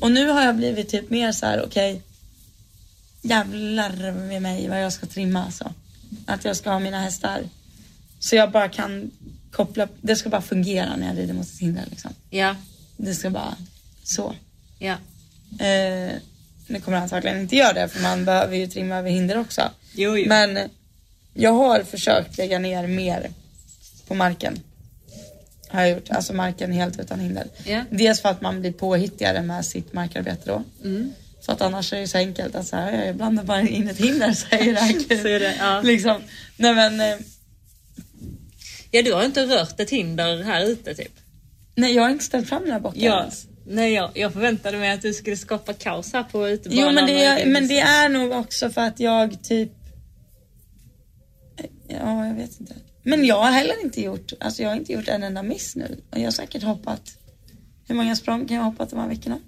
Speaker 2: Och nu har jag blivit typ mer så här, okej. jävlar med mig vad jag ska trimma alltså. Att jag ska ha mina hästar. Så jag bara kan koppla, det ska bara fungera när jag rider mot ett hinder liksom.
Speaker 1: Ja,
Speaker 2: Det ska bara så.
Speaker 1: ja.
Speaker 2: Eh, nu kommer jag antagligen inte göra det för man behöver ju trimma över hinder också.
Speaker 1: Jo, jo.
Speaker 2: Men jag har försökt lägga ner mer på marken. Har jag gjort. Alltså marken helt utan hinder.
Speaker 1: Ja.
Speaker 2: Dels för att man blir påhittigare med sitt markarbete då.
Speaker 1: Mm.
Speaker 2: För att annars är det ju så enkelt att så här, jag blandar bara in ett hinder så är det här kul.
Speaker 1: Så är det, ja.
Speaker 2: liksom. Nej men, eh,
Speaker 1: ja, du har inte rört ett hinder här ute typ?
Speaker 2: nej jag har inte ställt fram några bockar
Speaker 1: Ja.
Speaker 2: ens.
Speaker 1: Nej, jag, jag förväntade mig att du skulle skapa kaos här på utebanan.
Speaker 2: Jo men
Speaker 1: och
Speaker 2: det,
Speaker 1: i
Speaker 2: är,
Speaker 1: din-
Speaker 2: men det är nog också för att jag typ Ja jag vet inte. Men jag har heller inte gjort, alltså jag har inte gjort en enda miss nu. Och jag har säkert hoppat, hur många språng kan jag ha hoppat de här veckorna?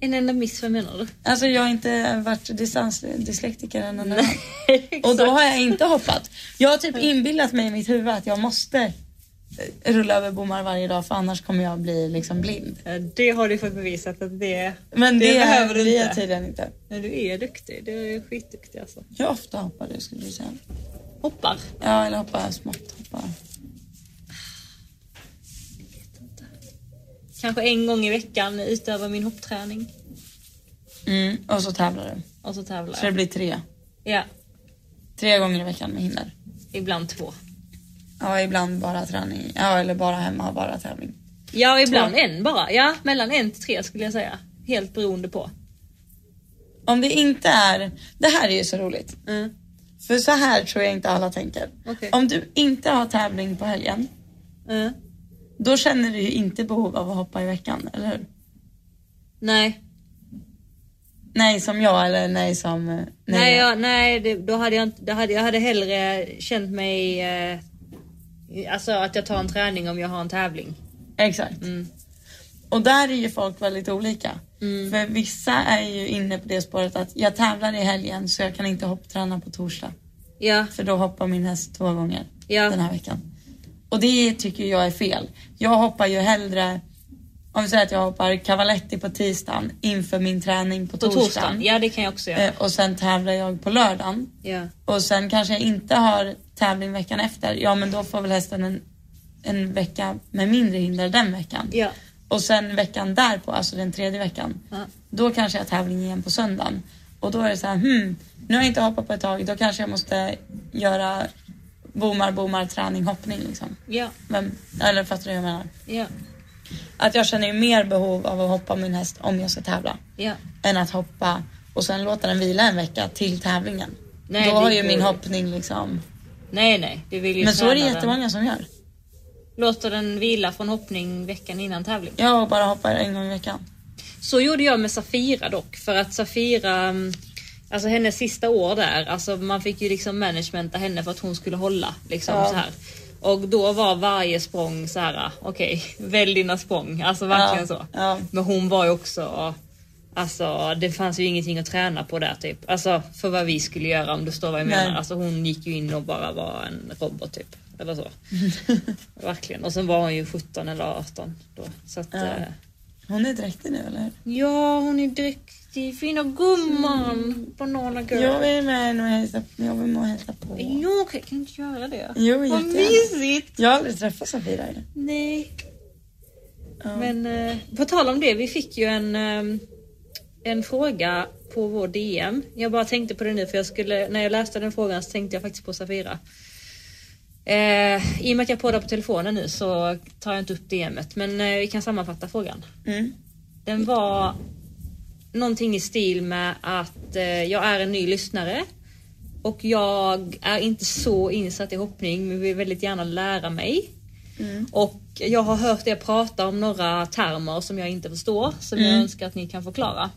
Speaker 1: En enda miss, vad menar du?
Speaker 2: Alltså jag har inte varit distansdyslektiker en enda gång.
Speaker 1: Exakt.
Speaker 2: Och då har jag inte hoppat. Jag har typ inbillat mig i mitt huvud att jag måste eh, rulla över bommar varje dag för annars kommer jag bli liksom blind.
Speaker 1: Ja, Det har du fått bevisat att det
Speaker 2: Men det,
Speaker 1: Det behöver du
Speaker 2: blir jag
Speaker 1: inte.
Speaker 2: tydligen inte.
Speaker 1: Men du är duktig, du är skitduktig alltså.
Speaker 2: Hur ofta hoppar du skulle du säga?
Speaker 1: Hoppar.
Speaker 2: Ja, eller hoppa smått. Hoppa.
Speaker 1: Kanske en gång i veckan utövar min hoppträning.
Speaker 2: Mm, och så tävlar du.
Speaker 1: Och så tävlar
Speaker 2: Så det
Speaker 1: jag.
Speaker 2: blir tre.
Speaker 1: Ja,
Speaker 2: Tre gånger i veckan med hinder.
Speaker 1: ibland två.
Speaker 2: Ja, ibland bara träning. Ja, eller bara hemma och bara tävling.
Speaker 1: Ja, ibland en bara. Ja, mellan en till tre skulle jag säga. Helt beroende på.
Speaker 2: Om det inte är... Det här är ju så roligt.
Speaker 1: Mm.
Speaker 2: För så här tror jag inte alla tänker.
Speaker 1: Okej.
Speaker 2: Om du inte har tävling på helgen,
Speaker 1: Mm.
Speaker 2: då känner du ju inte behov av att hoppa i veckan, eller hur?
Speaker 1: Nej,
Speaker 2: Nej som jag eller nej som... eh,
Speaker 1: nej, jag, nej det, då hade jag inte, då hade, jag hade hellre känt mig eh, Alltså att jag tar en träning om jag har en tävling.
Speaker 2: Exakt.
Speaker 1: Mm.
Speaker 2: Och där är ju folk väldigt olika. För vissa är ju inne på det spåret att jag tävlar i helgen så jag kan inte hoppträna på torsdag.
Speaker 1: Ja,
Speaker 2: För då hoppar min häst två gånger
Speaker 1: Ja.
Speaker 2: den här veckan. Och det tycker jag är fel. Jag hoppar ju hellre, om vi säger att jag hoppar cavaletti på tisdagen inför min träning på,
Speaker 1: på
Speaker 2: torsdagen.
Speaker 1: torsdagen. Ja, det kan jag också göra.
Speaker 2: Eh, Och sen tävlar jag på lördagen.
Speaker 1: Ja.
Speaker 2: Och sen kanske jag inte har tävling veckan efter. Ja men då får väl hästen en, en vecka med mindre hinder den veckan.
Speaker 1: Ja.
Speaker 2: Och sen veckan därpå, alltså den tredje veckan.
Speaker 1: Ja.
Speaker 2: Då kanske jag har tävling igen på söndagen. Och då är det så här, hmm, nu har jag inte hoppat på ett tag. Då kanske jag måste göra bommar, bommar, träning, hoppning liksom.
Speaker 1: Ja,
Speaker 2: Vem, eller fattar du hur jag menar?
Speaker 1: ja,
Speaker 2: Att jag känner ju mer behov av att hoppa min häst om jag ska tävla.
Speaker 1: ja.
Speaker 2: Än att hoppa och sen låta den vila en vecka till tävlingen.
Speaker 1: Nej,
Speaker 2: då
Speaker 1: det
Speaker 2: har ju
Speaker 1: går
Speaker 2: min
Speaker 1: ju.
Speaker 2: hoppning liksom
Speaker 1: Nej, nej. Du vill ju
Speaker 2: men så är det
Speaker 1: träna
Speaker 2: jättemånga som gör.
Speaker 1: Den. Låter den vila från hoppning veckan innan tävling.
Speaker 2: Jag bara hoppar en gång i veckan.
Speaker 1: Så gjorde jag med Safira dock, för att Safira, mm, alltså hennes sista år där, alltså man fick ju liksom managementa henne för att hon skulle hålla. Liksom,
Speaker 2: Ja.
Speaker 1: så här. Och då var varje språng så här, okej, välj dina språng. Alltså verkligen
Speaker 2: Ja,
Speaker 1: så.
Speaker 2: ja.
Speaker 1: Men hon var ju också, alltså det fanns ju ingenting att träna på där typ. Alltså för vad vi skulle göra om du står vad jag menar.
Speaker 2: Nej.
Speaker 1: Alltså hon gick ju in och bara var en robot typ. Eller så. verkligen. Och sen var hon ju 17 eller 18 då. Så att,
Speaker 2: Ja.
Speaker 1: eh,
Speaker 2: Hon är dräktig nu eller?
Speaker 1: Ja, hon är duktig. Fina
Speaker 2: Mm.
Speaker 1: gumman. Banana girl.
Speaker 2: Jag är med och hälsar, jag vill med och hälsa på.
Speaker 1: Jo, kan kan inte göra det.
Speaker 2: Jo,
Speaker 1: Vad
Speaker 2: jättegärna.
Speaker 1: mysigt.
Speaker 2: Jag har aldrig träffat Safira ju.
Speaker 1: Nej. Men eh, på tal om det, vi fick ju en, eh, en fråga på vår DM. Jag bara tänkte på det nu för jag skulle, när jag läste den frågan så tänkte jag faktiskt på Safira. Eh, I och med att jag poddar på telefonen nu så tar jag inte upp DMet men eh, vi kan sammanfatta frågan.
Speaker 2: Mm.
Speaker 1: Den var någonting i stil med att eh, jag är en ny lyssnare och jag är inte så insatt i hoppning men vill väldigt gärna lära mig.
Speaker 2: Mm.
Speaker 1: Och jag har hört er prata om några termer som jag inte förstår som jag önskar att ni kan förklara.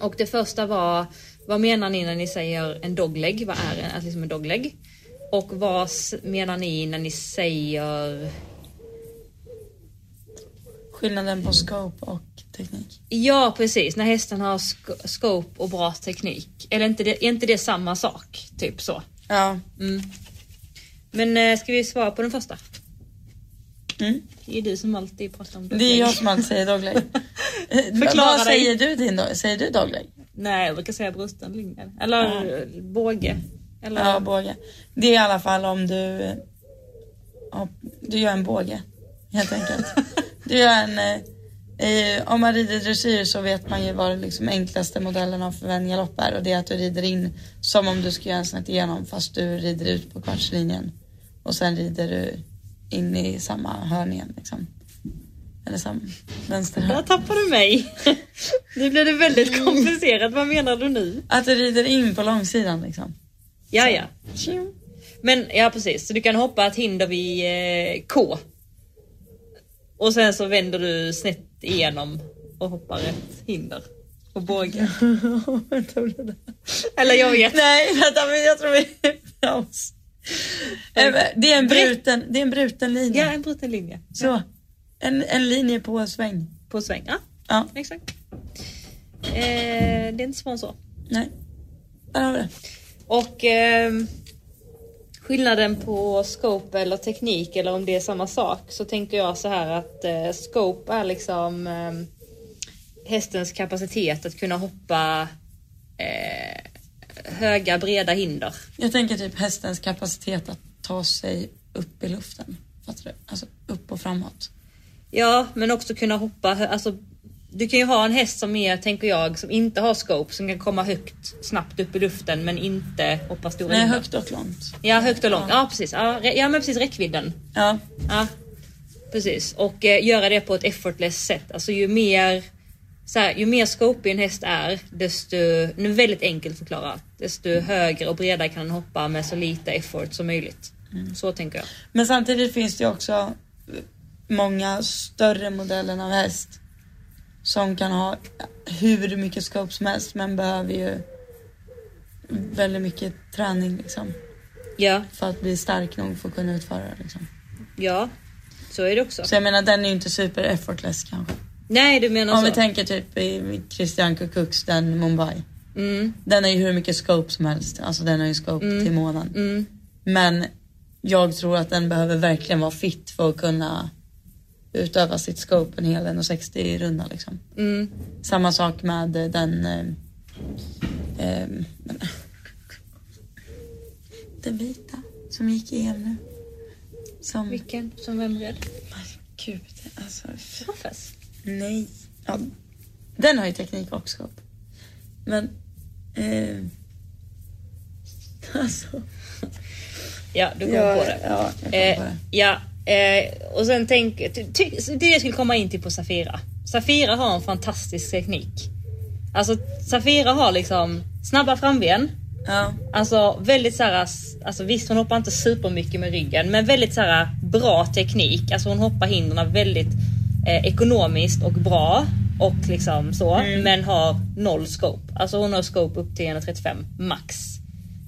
Speaker 1: Och det första var, vad menar ni när ni säger en dogleg? Vad är en, alltså liksom en dogleg? Och vad s- menar ni när ni säger
Speaker 2: Skillnaden på scope och teknik.
Speaker 1: Ja precis, när hästen har sk- scope och bra teknik. Eller inte det, är inte det samma sak? Typ så.
Speaker 2: Ja.
Speaker 1: Mm. Men eh, ska vi svara på den första?
Speaker 2: Mm.
Speaker 1: Det är du som alltid pratar om
Speaker 2: Det är jag som alltid säger dogleg.
Speaker 1: Förklara
Speaker 2: Vad
Speaker 1: dig.
Speaker 2: säger du din dog? Säger du dogleg?
Speaker 1: Nej, jag brukar säga brusten lingen. Eller eh, båge. Eller...
Speaker 2: Ja, båge. Det är i alla fall om du... eh, hopp- Du gör en båge, helt enkelt. Du gör en... eh, Eh, om man rider dressyr så vet man ju vad liksom enklaste modellen av förvänd galopp är och det är att du rider in som om du ska göra en snett igenom fast du rider ut på kvartslinjen och sen rider du in i samma hörn igen liksom. Eller samma
Speaker 1: Där
Speaker 2: vänsterhörn.
Speaker 1: tappar du mig. nu blev det väldigt komplicerat. Vad menar du nu?
Speaker 2: Att du rider in på långsidan liksom.
Speaker 1: Ja, ja.
Speaker 2: Tjing.
Speaker 1: Men ja, precis. Så du kan hoppa ett hinder vid eh, K. Och sen så vänder du snett igenom och hoppar ett hinder. Och båge.
Speaker 2: Vänta, blev det-
Speaker 1: Eller jag vet.
Speaker 2: Nej, vänta, men jag tror vi paus. Eh, Det är en bruten, det är en bruten
Speaker 1: Ja,
Speaker 2: linje.
Speaker 1: en bruten linje.
Speaker 2: Så. En, en linje på en sväng.
Speaker 1: På sväng. Ja,
Speaker 2: Ja,
Speaker 1: exakt. Eh, det är inte svårare än så.
Speaker 2: nej. Där har vi det.
Speaker 1: Och ehm, skillnaden på scope eller teknik eller om det är samma sak så tänker jag så här att eh, scope är liksom ehm, hästens kapacitet att kunna hoppa eh, höga breda hinder.
Speaker 2: Jag tänker typ hästens kapacitet att ta sig upp i luften. Fattar du? Alltså upp och framåt.
Speaker 1: Ja, men också kunna hoppa. hö- Alltså, du kan ju ha en häst som är, tänker jag, som inte har scope som kan komma högt snabbt upp i luften men inte hoppa stora
Speaker 2: Nej,
Speaker 1: hinder.
Speaker 2: högt och långt.
Speaker 1: Ja, högt och långt. Ja, precis. Ja, re- ja men precis räckvidden.
Speaker 2: Ja,
Speaker 1: Ja, precis. Och eh, göra det på ett effortless sätt. Alltså ju mer, så här, ju mer scopey en häst är, desto, nu väldigt enkelt förklarat, desto
Speaker 2: Mm.
Speaker 1: högre och bredare kan den hoppa med så lite effort som möjligt.
Speaker 2: Mm.
Speaker 1: Så tänker jag.
Speaker 2: men samtidigt finns det ju också många större modeller av häst som kan ha hur mycket scope som helst men behöver ju väldigt mycket träning liksom.
Speaker 1: Ja,
Speaker 2: för att bli stark nog för att kunna utföra det. Liksom.
Speaker 1: ja. Så är det också.
Speaker 2: Så jag menar den är ju inte super effortless kanske.
Speaker 1: Nej, du menar
Speaker 2: Om vi
Speaker 1: så.
Speaker 2: tänker typ i Christian Kukuks den Mumbai.
Speaker 1: Mm,
Speaker 2: Den är ju hur mycket scope som helst. Alltså den har ju scope till månen.
Speaker 1: mm.
Speaker 2: Men jag tror att den behöver verkligen vara fit för att kunna utöva sitt scope en hel 1,60 runda liksom.
Speaker 1: Mm.
Speaker 2: Samma sak med eh, den... Eh, eh, men- den vita som gick i EM nu. Som...
Speaker 1: Vilken? Som vem red?
Speaker 2: Gud, alltså f-
Speaker 1: Fast.
Speaker 2: nej. Ja, den har ju teknik och scope. Men... Eh, alltså...
Speaker 1: Ja, du kom
Speaker 2: Ja,
Speaker 1: på det.
Speaker 2: ja, jag kom
Speaker 1: Eh,
Speaker 2: på det.
Speaker 1: ja, eh, och sen tänk, ty, ty, det jag skulle komma in till på Safira. Safira har en fantastisk teknik. Alltså Safira har liksom snabba framben.
Speaker 2: Ja,
Speaker 1: Alltså väldigt så här, alltså visst hon hoppar inte supermycket med ryggen men väldigt så här bra teknik. Alltså hon hoppar hindren väldigt eh, ekonomiskt och bra och liksom så men har noll scope. Alltså hon har scope upp till 1,35 max.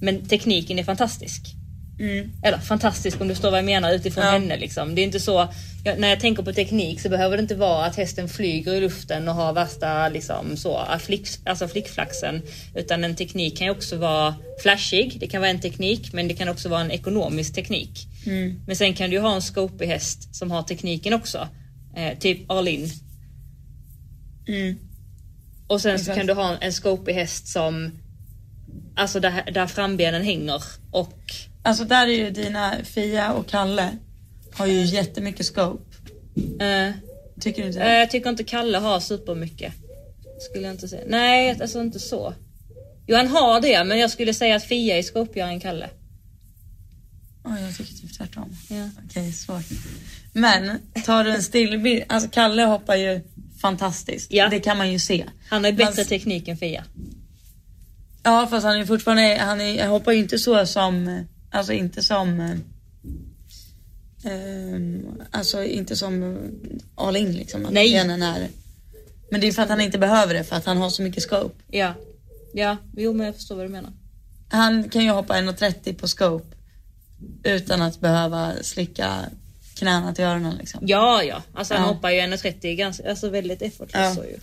Speaker 1: Men tekniken är fantastisk.
Speaker 2: mm,
Speaker 1: Eller fantastisk om du förstår vad jag menar utifrån
Speaker 2: Ja.
Speaker 1: henne. Liksom. Det är inte så, jag, när jag tänker på teknik så behöver det inte vara att hästen flyger i luften och har värsta liksom, så, flick, alltså flickflaxen. Utan en teknik kan ju också vara flashig, det kan vara en teknik men det kan också vara en ekonomisk teknik.
Speaker 2: mm,
Speaker 1: Men sen kan du ju ha en scopey häst som har tekniken också. Eh, typ Arlin.
Speaker 2: mm.
Speaker 1: Och sen så
Speaker 2: Exakt.
Speaker 1: kan du ha en scopey häst som Alltså där, där frambenen hänger och
Speaker 2: Alltså där är ju dina Fia och Kalle har ju jättemycket scope.
Speaker 1: eh,
Speaker 2: Tycker du inte
Speaker 1: Eh,
Speaker 2: det?
Speaker 1: Jag tycker inte Kalle har supermycket. Skulle jag inte säga. Nej, alltså inte så. Jo, han har det, men jag skulle säga att Fia är skåpigare än Kalle.
Speaker 2: Oj, jag tycker typ tvärtom.
Speaker 1: Ja.
Speaker 2: Okej, svårt. Men tar du en stillbild, alltså Kalle hoppar ju fantastiskt.
Speaker 1: Ja.
Speaker 2: Det kan man ju se.
Speaker 1: Han har ju bättre
Speaker 2: Men-
Speaker 1: teknik än Fia.
Speaker 2: Ja fast han är fortfarande, han, är, han hoppar ju inte så som, alltså inte som eh, ehm, Alltså inte som all in liksom. att
Speaker 1: Nej.
Speaker 2: benen är, men det är för att han inte behöver det för att han har så mycket scope.
Speaker 1: Ja. Ja, jo men jag förstår vad du menar.
Speaker 2: Han kan ju hoppa 1,30 på scope utan att behöva slicka knäna till öronen liksom.
Speaker 1: Ja, ja. Alltså han
Speaker 2: Ja.
Speaker 1: hoppar ju 1,30 ganska, alltså väldigt
Speaker 2: Ja.
Speaker 1: effortlöst så ju.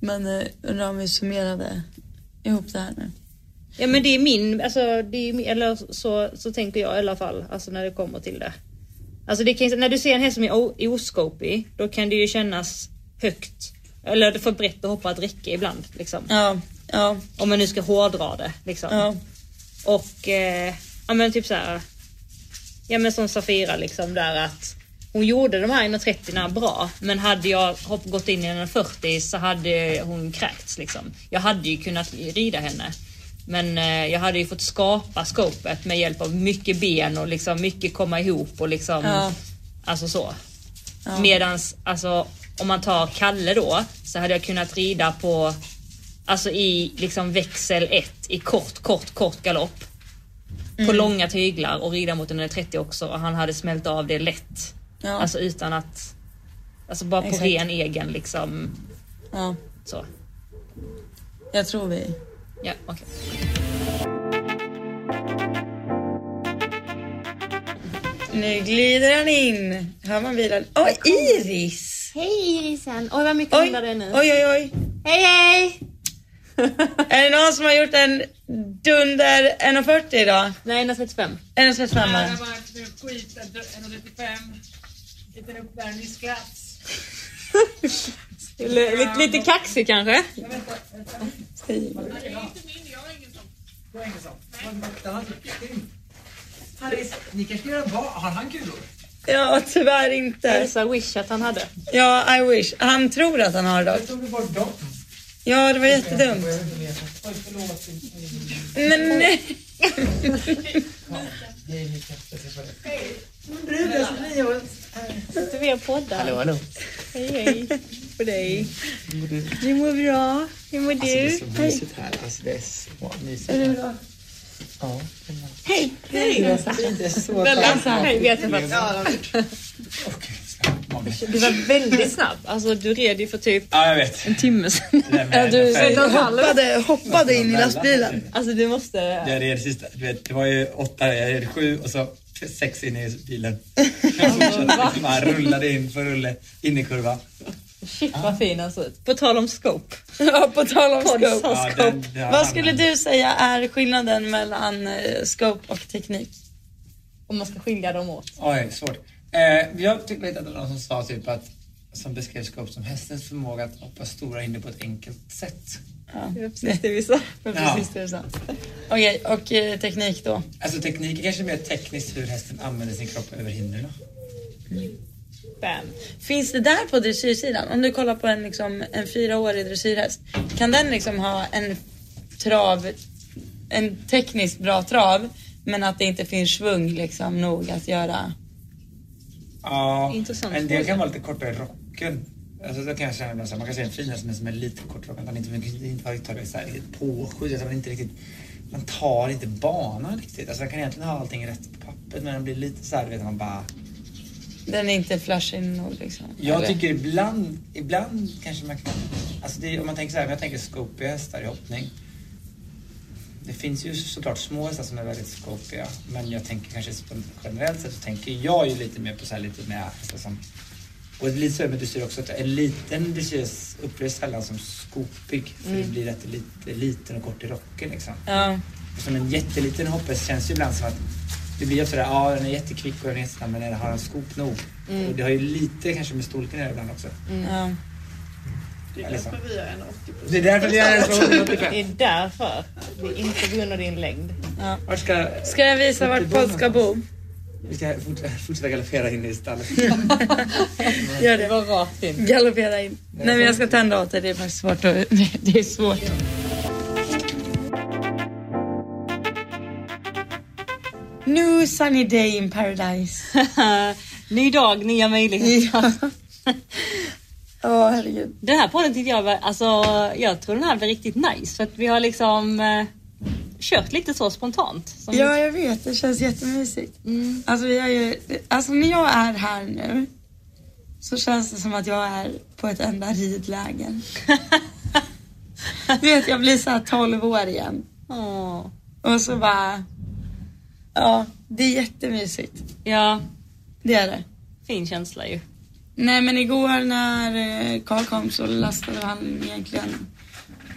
Speaker 2: Men eh, undrar om vi summerade ihop det här nu.
Speaker 1: Ja men det är min, alltså det är min, eller så, så tänker jag i alla fall, alltså när det kommer till det. Alltså det kan, ju- när du ser en häst som är o- oskopig, då kan det ju kännas högt. Eller för brett att hoppa ett räcke ibland liksom.
Speaker 2: Ja, ja,
Speaker 1: Om man nu ska hårdra det liksom.
Speaker 2: ja.
Speaker 1: Och eh, ja men typ så här. Ja men som Safira liksom där att hon gjorde de här 1,30 bra men hade jag hopp, gått in i 1,40 så hade hon kräkts liksom. Jag hade ju kunnat rida henne. Men eh, jag hade ju fått skapa skåpet med hjälp av mycket ben och liksom mycket komma ihop och liksom
Speaker 2: Ja.
Speaker 1: alltså så. Medans alltså om man tar Kalle då så hade jag kunnat rida på alltså i liksom växel 1 i kort, kort, kort galopp. På långa tyglar och rida mot en 30 också och han hade smält av det lätt.
Speaker 2: Ja.
Speaker 1: Alltså utan att, alltså bara på
Speaker 2: Exakt.
Speaker 1: ren egen liksom
Speaker 2: ja.
Speaker 1: så.
Speaker 2: Jag tror vi
Speaker 1: Ja, okej.
Speaker 2: Nu glider han in. Hör man bilen? Oj, Iris!
Speaker 3: Hej Irisen! Oj vad mycket
Speaker 2: Oj,
Speaker 3: hundar det är nu.
Speaker 2: oj, oj, oj.
Speaker 3: Hej hej!
Speaker 2: Är det någon som har gjort en dunder 1.40 idag?
Speaker 1: Nej, 135.
Speaker 2: 1.35?
Speaker 4: Det här
Speaker 2: va?
Speaker 4: var
Speaker 1: typ
Speaker 4: absolut skit, 1,95. Liten uppvärmningsklass.
Speaker 1: Lite, lite kaxig kanske?
Speaker 4: Det var ingen sån. Den hade- Harris, ni kanske göra vad? Har han kulor?
Speaker 2: Ja, tyvärr inte.
Speaker 1: Hälsa Wish att han hade.
Speaker 2: Ja, I wish. Han tror att han har det
Speaker 4: Jag
Speaker 2: dock.
Speaker 4: tog du bort dem.
Speaker 2: Ja, det var jättedumt.
Speaker 4: Jag vet inte mer. Oj, förlåt.
Speaker 2: Men nej.
Speaker 4: Hej, Mikael. Jag träffade dig.
Speaker 1: Sitter vi och poddar? Hallå hallå. Hej hej. På dig.
Speaker 3: Du mår bra. Hur mår
Speaker 4: Det är
Speaker 3: du?
Speaker 4: så mysigt här. Alltså, det är så mysigt. Är det bra? Ja. Hej! Hej! Det är så fint. Det är så
Speaker 1: Alltså,
Speaker 4: tacksamt.
Speaker 1: hej, vi har träffats.
Speaker 4: Okej, snabbt. Magiskt.
Speaker 1: Det var väldigt snabbt. Alltså du red ju för typ
Speaker 4: Ja, jag vet.
Speaker 1: en timme sedan.
Speaker 4: Nej, men-
Speaker 1: Ett och ett halvt.
Speaker 2: Hoppade, hoppade in i lastbilen.
Speaker 1: Alltså du måste...
Speaker 4: Jag red sista, du vet, det var ju åtta, jag red sju och så sex in i bilen. Jag fortsatte, bara rullade in för rulle, in i kurva.
Speaker 1: Shit vad fin han ser ut. På tal om scope.
Speaker 2: Ja, på tal om scope.
Speaker 1: Poddscope.
Speaker 4: den-
Speaker 2: Vad skulle du säga är skillnaden mellan eh, scope och teknik?
Speaker 1: Om man ska skilja dem åt.
Speaker 4: Oj, svårt. Eh, jag tycker lite att det var någon som sa typ att, som beskrev Scope som hästens förmåga att hoppa stora hinder på ett enkelt sätt.
Speaker 1: Det var precis det vi sa.
Speaker 2: Det var Precis det du sa. Okej, och eh, teknik då?
Speaker 4: Alltså teknik är kanske mer tekniskt hur hästen använder sin kropp över hindren.
Speaker 1: Bam.
Speaker 2: Finns det där på dressyrsidan? Om du kollar på en, liksom, en fyraårig dressyrhäst. Kan den liksom ha en trav, en tekniskt bra trav men att det inte finns svung liksom nog att göra?
Speaker 4: Ja,
Speaker 1: Intressant
Speaker 4: en del
Speaker 1: fråga.
Speaker 4: kan vara lite kortare i rocken. Alltså då kan jag känna ibland så här, man kan se en fin häst men som är lite kortrockad. att Han inte, inte har tagit så här riktigt påskjut. Alltså man inte riktigt, man tar inte banan riktigt. Alltså man kan egentligen ha allting rätt på pappret men den blir lite så här, du vet man bara.
Speaker 2: Den är inte flashig nog liksom.
Speaker 4: Jag
Speaker 2: Eller?
Speaker 4: tycker ibland, ibland kanske man kan, alltså det, är- om man tänker så här, om jag tänker skopiga hästar i hoppning. Det finns ju såklart små hästar som är väldigt skopiga men jag tänker kanske generellt sett så tänker jag ju lite mer på så här lite mer hästar som och det är lite så med dressyr också, att en liten dressyr upplevs sällan som skopig för det blir rätt lite, liten och kort i rocken liksom.
Speaker 2: Ja,
Speaker 4: Och Som en jätteliten hopphäst känns ju ibland som att det blir ju sådär, ja den är jättekvick och den är jättesnabb men den har en skop nog? Och det har ju lite kanske med storleken att göra ibland också.
Speaker 2: ja.
Speaker 4: Det är därför vi har en 80 Det är därför vi har en 80
Speaker 1: Det är därför. Det är inte på grund av din längd.
Speaker 4: Vart ska...
Speaker 2: Ska jag visa vart Paul ska bo?
Speaker 4: Vi ska fortsätta, fortsätta galoppera in i stallet.
Speaker 2: Gör
Speaker 1: Det
Speaker 2: det.
Speaker 1: var rakt in.
Speaker 2: Galoppera in. Nej men jag ska tända åt dig, det är faktiskt svårt att... Det är svårt. New sunny day in paradise.
Speaker 1: Ny dag, nya möjligheter.
Speaker 2: Åh herregud.
Speaker 1: Den här podden tyckte jag var, alltså jag tror den här blir riktigt nice för att vi har liksom eh, kört lite så spontant. Som,
Speaker 2: Ja jag vet, det känns jättemysigt.
Speaker 1: Mm.
Speaker 2: Alltså, vi har ju, alltså när jag är här nu så känns det som att jag är på ett enda ridläger. Du vet jag blir så här 12 år igen.
Speaker 1: Åh.
Speaker 2: Och så bara... Ja, det är jättemysigt.
Speaker 1: Ja,
Speaker 2: Det är det.
Speaker 1: fin känsla ju.
Speaker 2: Nej men igår när eh, Carl kom så lastade han egentligen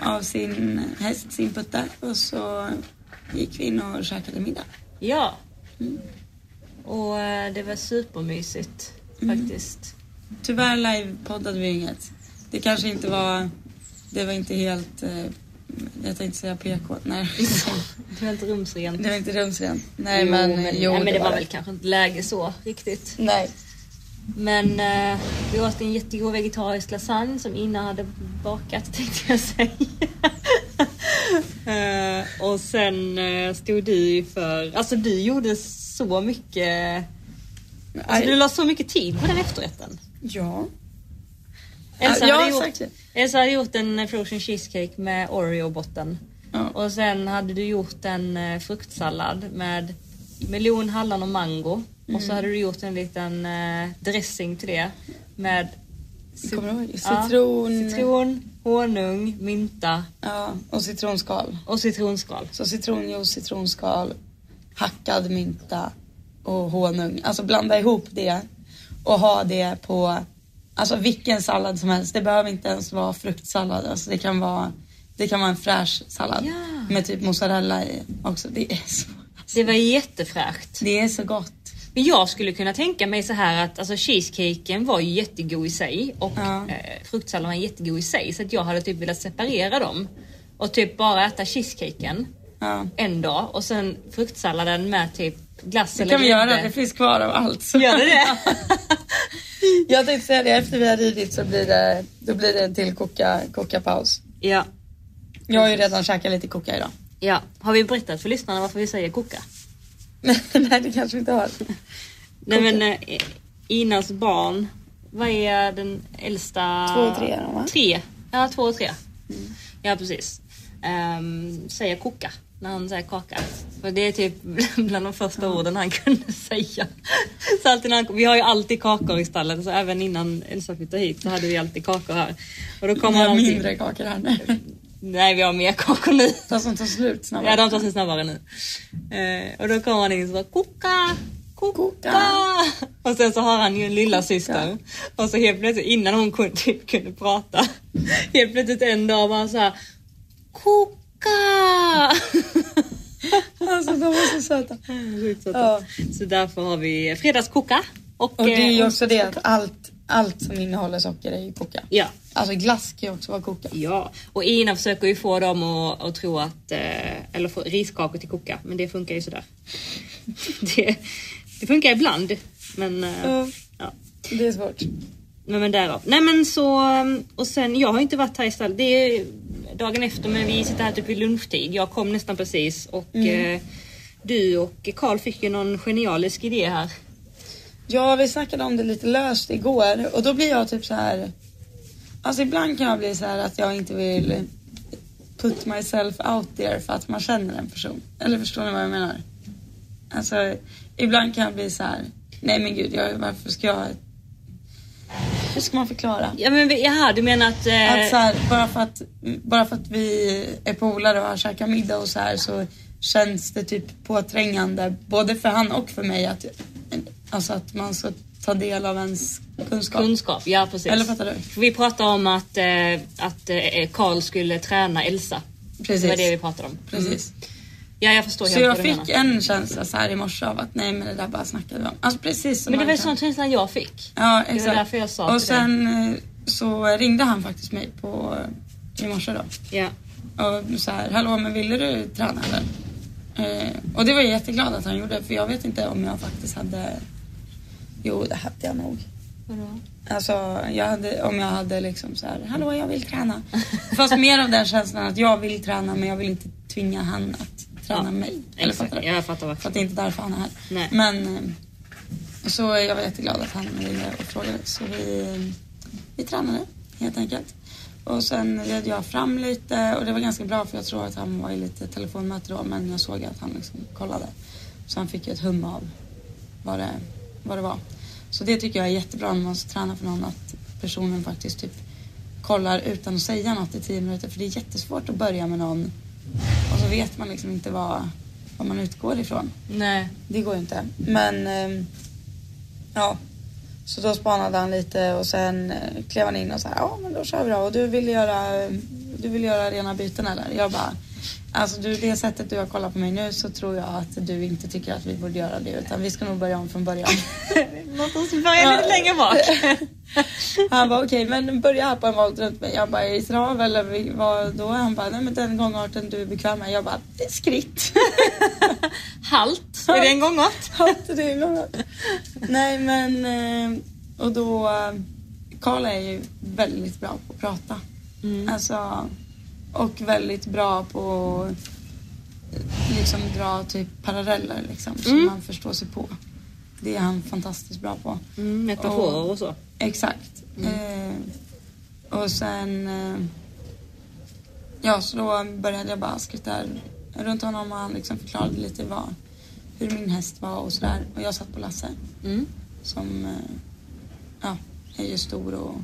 Speaker 2: av sin häst, sin putte. Och så gick vi in och käkade middag.
Speaker 1: Ja. Och eh, det var supermysigt
Speaker 2: Mm.
Speaker 1: faktiskt.
Speaker 2: Tyvärr livepoddade vi inget. Det kanske inte var... Det var inte helt... Eh, jag tänkte säga PK. Nej,
Speaker 1: Det var inte rumsrent.
Speaker 2: det var inte rumsrent. Nej men... eh,
Speaker 1: nej, men det, var väl kanske inte läge så riktigt.
Speaker 2: Nej.
Speaker 1: Men eh, vi åt en jättegod vegetarisk lasagne som Ina hade bakat tänkte jag säga. Eh, och sen eh, stod du ju för, alltså du gjorde så mycket, alltså, du la så mycket tid på den efterrätten.
Speaker 2: Ja.
Speaker 1: Elsa,
Speaker 2: Ja,
Speaker 1: hade, gjort,
Speaker 2: säkert.
Speaker 1: Elsa hade gjort en eh, frozen cheesecake med Oreo-botten.
Speaker 2: Ja.
Speaker 1: Och sen hade du gjort en eh, fruktsallad med melon, hallon och mango. Och
Speaker 2: Mm.
Speaker 1: så hade du gjort en liten eh, dressing till det med
Speaker 2: Kommer du ihåg?
Speaker 1: ja,
Speaker 2: Citron.
Speaker 1: citron, honung, mynta
Speaker 2: Ja, och citronskal.
Speaker 1: och citronskal.
Speaker 2: Så
Speaker 1: Mm.
Speaker 2: citronjuice, citronskal, hackad mynta och honung. Alltså blanda ihop det och ha det på alltså vilken sallad som helst. Det behöver inte ens vara fruktsallad. Alltså det kan vara, det kan vara en fräsch sallad
Speaker 1: Ja.
Speaker 2: med typ mozzarella i också. Det är så,
Speaker 1: Det var jättefräscht.
Speaker 2: det är så gott.
Speaker 1: Men jag skulle kunna tänka mig så här att alltså, cheesecaken var ju jättegod i sig och
Speaker 2: Ja.
Speaker 1: eh, fruktsalladen var jättegod i sig så att jag hade typ velat separera dem och typ bara äta cheesecaken
Speaker 2: Ja.
Speaker 1: en dag och sen fruktsalladen med typ glass
Speaker 2: Det
Speaker 1: eller
Speaker 2: kan vi göra, det
Speaker 1: grädde.
Speaker 2: finns kvar av allt. Så.
Speaker 1: Gör det det?
Speaker 2: Jag tänkte säga det, efter vi har ridit så blir det, då blir det en till koka, koka-paus.
Speaker 1: ja.
Speaker 2: Jag har ju redan käkat lite koka idag.
Speaker 1: ja. Har vi berättat för lyssnarna varför vi säger koka?
Speaker 2: Nej, det kanske vi inte har.
Speaker 1: Nej men eh, Inas barn, vad är den äldsta?
Speaker 2: Två och tre Mm. är de, va?
Speaker 1: Tre. Ja, två och tre. Ja, precis. Ehm, säger koka när han säger kaka. För det är typ bland de första orden han kunde säga. Så alltid när han, kom- vi har ju alltid kakor i stallet, så även innan Elsa flyttade hit så hade vi alltid kakor här. Och då kom
Speaker 2: Vi
Speaker 1: han
Speaker 2: har
Speaker 1: alltid...
Speaker 2: mindre kakor här nu.
Speaker 1: Nej, vi har mer kakor nu.
Speaker 2: Fast de tar slut snabbare.
Speaker 1: Ja, de tar sig snabbare nu. Eh, och då kommer han in så bara koka, koka.
Speaker 2: Koka.
Speaker 1: Och sen så har han ju en lilla syster. Och så helt plötsligt innan hon kunde, typ kunde prata. Helt plötsligt en dag var han så här koka.
Speaker 2: Alltså de är så söta.
Speaker 1: Sjukt söta.
Speaker 2: Ja.
Speaker 1: Så därför har vi fredagskoka. Och,
Speaker 2: Och det är ju
Speaker 1: eh,
Speaker 2: också det att allt, allt som innehåller socker är ju koka.
Speaker 1: Ja.
Speaker 2: Alltså glass kan ju också vara koka.
Speaker 1: Ja, och Ina försöker ju få dem att, att tro att, eh, eller få riskakor till koka, men det funkar ju sådär. det, det funkar ibland, men eh,
Speaker 2: Ja.
Speaker 1: ja.
Speaker 2: Det är svårt.
Speaker 1: Nej men därav. Nej men så, um, och sen jag har inte varit här i stallet. Det är dagen efter men vi sitter här typ vid lunchtid. Jag kom nästan precis och
Speaker 2: Mm.
Speaker 1: eh, du och Karl fick ju någon genialisk idé här.
Speaker 2: Ja, vi snackade om det lite löst igår och då blir jag typ så här. Alltså ibland kan jag bli så här att jag inte vill put myself out there för att man känner en person. Eller förstår ni vad jag menar? Alltså ibland kan jag bli så här. Nej men gud, jag, varför ska jag... Hur ska man förklara?
Speaker 1: Ja men vi- jaha, du menar att... Eh,
Speaker 2: Att så här, bara, för att, bara för att vi är polare och har käkat middag och så här så känns det typ påträngande både för han och för mig att, alltså att man ska ta del av ens kunskap.
Speaker 1: kunskap, ja precis.
Speaker 2: Eller fattar du?
Speaker 1: För Vi pratade om att, eh, att eh, Karl skulle träna Elsa. Det var
Speaker 2: Precis.
Speaker 1: det vi pratade om. Mm.
Speaker 2: Precis.
Speaker 1: Ja jag förstår
Speaker 2: Så
Speaker 1: helt
Speaker 2: jag
Speaker 1: vad du
Speaker 2: fick
Speaker 1: menar.
Speaker 2: en känsla så här i morse av att nej men det där bara snackade vi om. Alltså precis som
Speaker 1: Men det
Speaker 2: man
Speaker 1: var ju
Speaker 2: kan-
Speaker 1: sån känslan jag fick.
Speaker 2: Ja
Speaker 1: var
Speaker 2: exakt.
Speaker 1: därför jag sa
Speaker 2: och
Speaker 1: till dig.
Speaker 2: sen eh, så ringde han faktiskt mig på i morse då.
Speaker 1: Ja.
Speaker 2: Och så här, hallå men ville du träna eller? Eh, och det var jag jätteglad att han gjorde för jag vet inte om jag faktiskt hade... Jo, det hade jag nog.
Speaker 3: Vadå?
Speaker 2: Alltså jag hade, om jag hade liksom så här, hallå jag vill träna. Fast mer av den känslan att jag vill träna men jag vill inte tvinga han att träna
Speaker 1: Ja,
Speaker 2: mig. Eller
Speaker 1: Exakt.
Speaker 2: fattar du?
Speaker 1: Jag fattar
Speaker 2: För
Speaker 1: varför.
Speaker 2: att det är inte därför han är här.
Speaker 1: Nej.
Speaker 2: Men eh, så jag var jätteglad att han ringde och frågade. Så vi, vi tränade helt enkelt. Och sen red jag fram lite och det var ganska bra för jag tror att han var i lite telefonmöte då men jag såg att han liksom kollade. Så han fick ju ett hum av vad det, vad det var. Så det tycker jag är jättebra när man ska träna för någon att personen faktiskt typ kollar utan att säga något i tio minuter för det är jättesvårt att börja med någon och så vet man liksom inte vad, vad man utgår ifrån.
Speaker 1: Nej.
Speaker 2: Det går ju inte. Men ehm, ja, så då spanade han lite och sen eh, klev han in och sa ja men då kör vi då. Och du vill göra, ehm, du vill göra rena byten eller? Jag bara Alltså du, det sättet du har kollat på mig nu så tror jag att du inte tycker att vi borde göra det utan vi ska nog börja om från början.
Speaker 1: Låt oss börja lite längre bak.
Speaker 2: Han bara okej men börja här på en volt runt mig. Jag bara i trav eller vi- vad då? Han bara nej men den gångarten du är bekväm med. Jag bara skritt.
Speaker 1: Halt. Är det en gångart?
Speaker 2: Ja, det är bra. Nej men, eh, och då, eh, Karl är ju väldigt bra på att prata.
Speaker 1: Mm.
Speaker 2: Alltså, och väldigt bra på att liksom dra typ paralleller liksom, som
Speaker 1: Mm.
Speaker 2: man förstår sig på. Det är han fantastiskt bra på.
Speaker 1: Mm, metaforer och så.
Speaker 2: Exakt. Eh, och sen... Eh, ja, så då började jag bara skritta runt honom och han liksom förklarade lite vad, hur min häst var och sådär. Och jag satt på Lasse
Speaker 1: Mm.
Speaker 2: som eh, ja, är ju stor och,